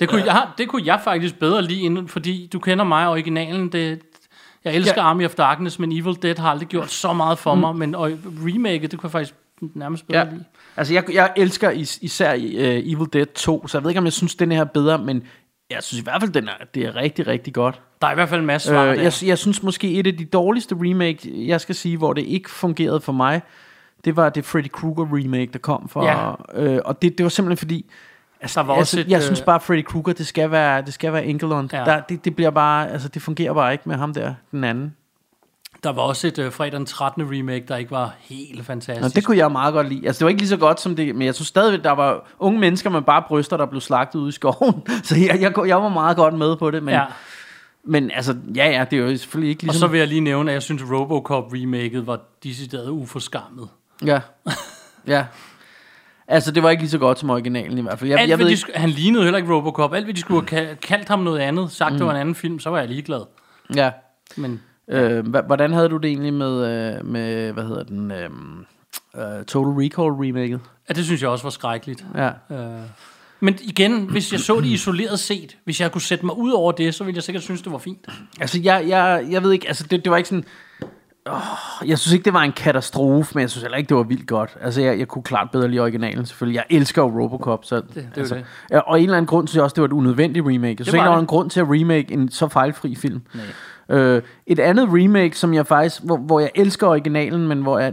Speaker 3: Det kunne, jeg, det kunne jeg faktisk bedre lide, inden, fordi du kender mig og originalen. Det, jeg elsker
Speaker 4: Ja. Mm.
Speaker 3: ja. Army of Darkness, men Evil Dead har aldrig gjort så meget for mig. Men og remaket, det kunne jeg faktisk nærmest bedre
Speaker 4: Ja.
Speaker 3: ja. lide.
Speaker 4: Altså, jeg, jeg elsker is, især øh, Evil Dead 2, så jeg ved ikke, om jeg synes, den her er bedre, men jeg synes i hvert fald, den er, det er rigtig, rigtig godt.
Speaker 3: Der er i hvert fald en masse svar øh,
Speaker 4: Øh,
Speaker 3: der.
Speaker 4: jeg, jeg synes måske, et af de dårligste remake, jeg skal sige, hvor det ikke fungerede for mig, det var det Freddy Krueger remake, der kom for.
Speaker 3: Ja.
Speaker 4: Øh, og det, det var simpelthen fordi,
Speaker 3: der var også
Speaker 4: altså,
Speaker 3: et,
Speaker 4: jeg
Speaker 3: øh,
Speaker 4: synes bare, Freddy Krueger, det skal være, det skal være Engelund.
Speaker 3: Ja.
Speaker 4: Ja. Der, det, det, bliver bare, altså, det fungerer bare ikke med ham der, den anden.
Speaker 3: Der var også et øh, fredag den 13. remake, der ikke var helt fantastisk.
Speaker 4: Nå, det kunne jeg meget godt lide. Altså, det var ikke lige så godt som det, men jeg synes stadigvæk, der var unge mennesker med bare bryster, der blev slagtet ude i skoven. Så jeg, jeg, jeg var meget godt med på det, men, ja.
Speaker 3: ja.
Speaker 4: men altså, ja, ja, det er jo selvfølgelig ikke
Speaker 3: Og
Speaker 4: ligesom...
Speaker 3: så vil jeg lige nævne, at jeg synes, Robocop remaket var decideret uforskammet.
Speaker 4: Ja. ja. Altså, det var ikke lige så godt som originalen i hvert fald. Jeg,
Speaker 3: Alt,
Speaker 4: jeg
Speaker 3: hvad
Speaker 4: ved
Speaker 3: de
Speaker 4: ikke,
Speaker 3: sku- han lignede heller ikke Robocop. Alt, hvad de skulle have ka- kaldt ham noget andet, sagt mm. det var en anden film, så var jeg ligeglad.
Speaker 4: ja.
Speaker 3: Men
Speaker 4: Øh, hva- hvordan havde du det egentlig med, øh, med hvad hedder den, øh, øh, Total Recall remaket?
Speaker 3: ja, det synes jeg også var skrækkeligt.
Speaker 4: Ja.
Speaker 3: Øh. Men igen, hvis jeg så det isoleret set, hvis jeg kunne sætte mig ud over det, så ville jeg sikkert synes, det var fint.
Speaker 4: Altså, jeg, jeg, jeg ved ikke, altså, det, det var ikke sådan... Oh, jeg synes ikke, det var en katastrofe, men jeg synes heller ikke, det var vildt godt. Altså, jeg, jeg kunne klart bedre lide originalen, selvfølgelig. Jeg elsker jo Robocop, så... Det,
Speaker 3: er jo
Speaker 4: altså,
Speaker 3: det.
Speaker 4: Ja, og en eller anden grund synes jeg også, det var et unødvendigt remake. Jeg synes
Speaker 3: var
Speaker 4: ikke, der var
Speaker 3: det.
Speaker 4: en grund til at remake en så fejlfri film. Øh, et andet remake, som jeg faktisk... Hvor, hvor jeg elsker originalen, men hvor jeg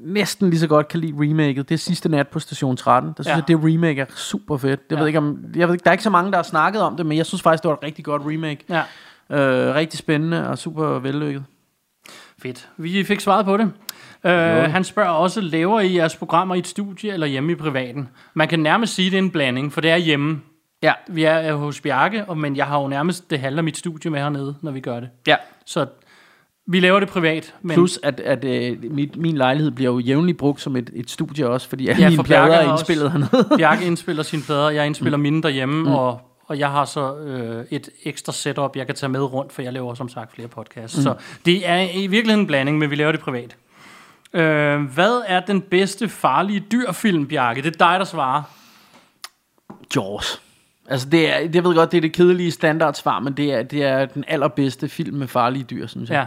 Speaker 4: næsten lige så godt kan lide remaket, det er sidste nat på station 13. Der synes
Speaker 3: Ja.
Speaker 4: ja. jeg, det remake er super fedt. Jeg ja. ved ikke, om, jeg ved ikke, der er ikke så mange, der har snakket om det, men jeg synes faktisk, det var et rigtig godt remake.
Speaker 3: Ja.
Speaker 4: Øh, rigtig spændende og super vellykket.
Speaker 3: Fedt. Vi fik svaret på det. Øh, han spørger også, laver I jeres programmer i et studie eller hjemme i privaten? Man kan nærmest sige, det er en blanding, for det er hjemme.
Speaker 4: Ja.
Speaker 3: Vi er øh, hos Bjarke, og, men jeg har jo nærmest det halve af mit studie med hernede, når vi gør det.
Speaker 4: ja.
Speaker 3: Så vi laver det privat. Men
Speaker 4: Plus, at, at øh, mit, min lejlighed bliver jo jævnligt brugt som et, et studie også, fordi alle
Speaker 3: Ja,
Speaker 4: ja,
Speaker 3: for
Speaker 4: mine plader
Speaker 3: Bjarke har
Speaker 4: er indspillet
Speaker 3: også-
Speaker 4: hernede.
Speaker 3: Bjarke indspiller sine plader, jeg indspiller mine derhjemme, mm. og, og jeg har så øh, et ekstra setup, jeg kan tage med rundt, for jeg laver som sagt flere podcasts. Mm. Så det er i virkeligheden en blanding, men vi laver det privat. Øh, hvad er den bedste farlige dyrfilm, Bjarke? Det er dig, der svarer.
Speaker 4: Jaws. Altså, det er, jeg ved godt, det er det kedelige standardsvar, men det er, det er den allerbedste film med farlige dyr, synes jeg.
Speaker 3: Ja,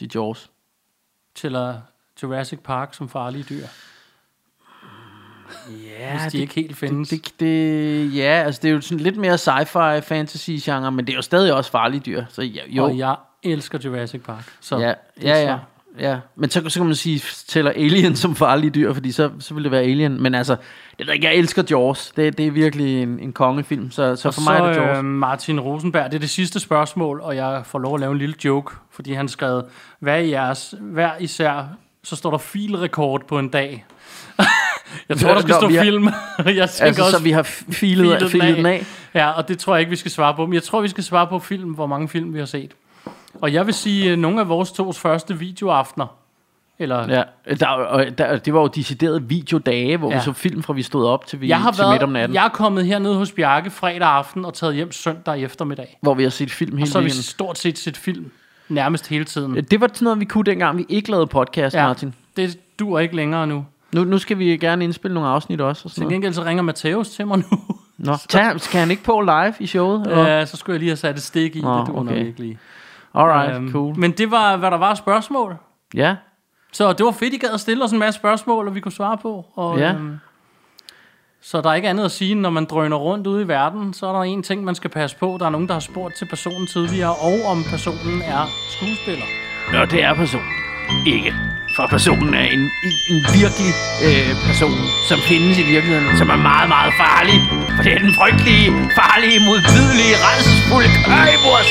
Speaker 4: Det er Jaws.
Speaker 3: til uh, Jurassic Park som farlige dyr. Ja, Hvis de
Speaker 4: det-
Speaker 3: ikke helt findes.
Speaker 4: Det, det, det, ja, altså, det er jo sådan lidt mere sci-fi, fantasy-genre, men det er jo stadig også farlige dyr. Så ja, jo,
Speaker 3: Og jeg elsker Jurassic Park. Så
Speaker 4: Ja,
Speaker 3: det er et
Speaker 4: ja, ja.
Speaker 3: svar.
Speaker 4: Ja, men så, så kan man sige, tæller alien som farlige dyr, fordi så, så vil det være alien. Men altså, det ved jeg ikke, jeg elsker Jaws. Det, det er virkelig en, en kongefilm, så, så øhm, for mig er det
Speaker 3: så,
Speaker 4: Jaws.
Speaker 3: øh, Martin Rosenberg, det er det sidste spørgsmål, og jeg får lov at lave en lille joke, fordi han skrev, hvad er jeres, hver især, så står der filrekord på en dag. jeg tror, der skal
Speaker 4: Nå,
Speaker 3: stå
Speaker 4: vi har-
Speaker 3: film. jeg tænker
Speaker 4: altså,
Speaker 3: også,
Speaker 4: så vi har f- filet, filet den af.
Speaker 3: Ja, og det tror jeg ikke, vi skal svare på. Men jeg tror, vi skal svare på film, hvor mange film vi har set. Og jeg vil sige, øh, nogle af vores tos første videoaftener, eller
Speaker 4: Ja, der, og der, det var jo decideret videodage, hvor ja.
Speaker 3: Ja.
Speaker 4: vi så film fra vi stod op til, vi,
Speaker 3: jeg, har
Speaker 4: til midt om
Speaker 3: været,
Speaker 4: natten.
Speaker 3: jeg er kommet hernede hos Bjarke fredag aften og taget hjem søndag eftermiddag.
Speaker 4: Hvor vi har set film hele
Speaker 3: Så har vi
Speaker 4: weekenden.
Speaker 3: stort set set film nærmest hele tiden.
Speaker 4: Det var sådan noget, vi kunne dengang, vi ikke lavede podcast, ja. Martin.
Speaker 3: det dur ikke længere nu.
Speaker 4: Nu, nu skal vi gerne indspille nogle afsnit også. Og sådan
Speaker 3: Til
Speaker 4: noget.
Speaker 3: gengæld så ringer Mateus til mig nu.
Speaker 4: Nå, tag, skal han ikke på live i showet? eller hvad?
Speaker 3: Ja, så skulle jeg lige have sat et stik i,
Speaker 4: Nå,
Speaker 3: det duer okay. nok
Speaker 4: okay.
Speaker 3: ikke lige.
Speaker 4: Alright,
Speaker 3: Øhm,
Speaker 4: cool.
Speaker 3: Men det var, hvad der var af spørgsmål.
Speaker 4: Ja,
Speaker 3: Så det var fedt, I gad at stille os en masse spørgsmål, og vi kunne svare på. Og,
Speaker 4: Ja.
Speaker 3: øhm, så der er ikke andet at sige, end når man drøner rundt ude i verden, så er der en ting, man skal passe på. Der er nogen, der har spurgt til personen tidligere, og om personen er skuespiller.
Speaker 4: Og det er personen. Ikke. For personen er en, en, en virkelig øh, person, som findes i virkeligheden, som er meget, meget farlig. For det er den frygtelige, farlige, modbydelige, redselsfulde køjeburs.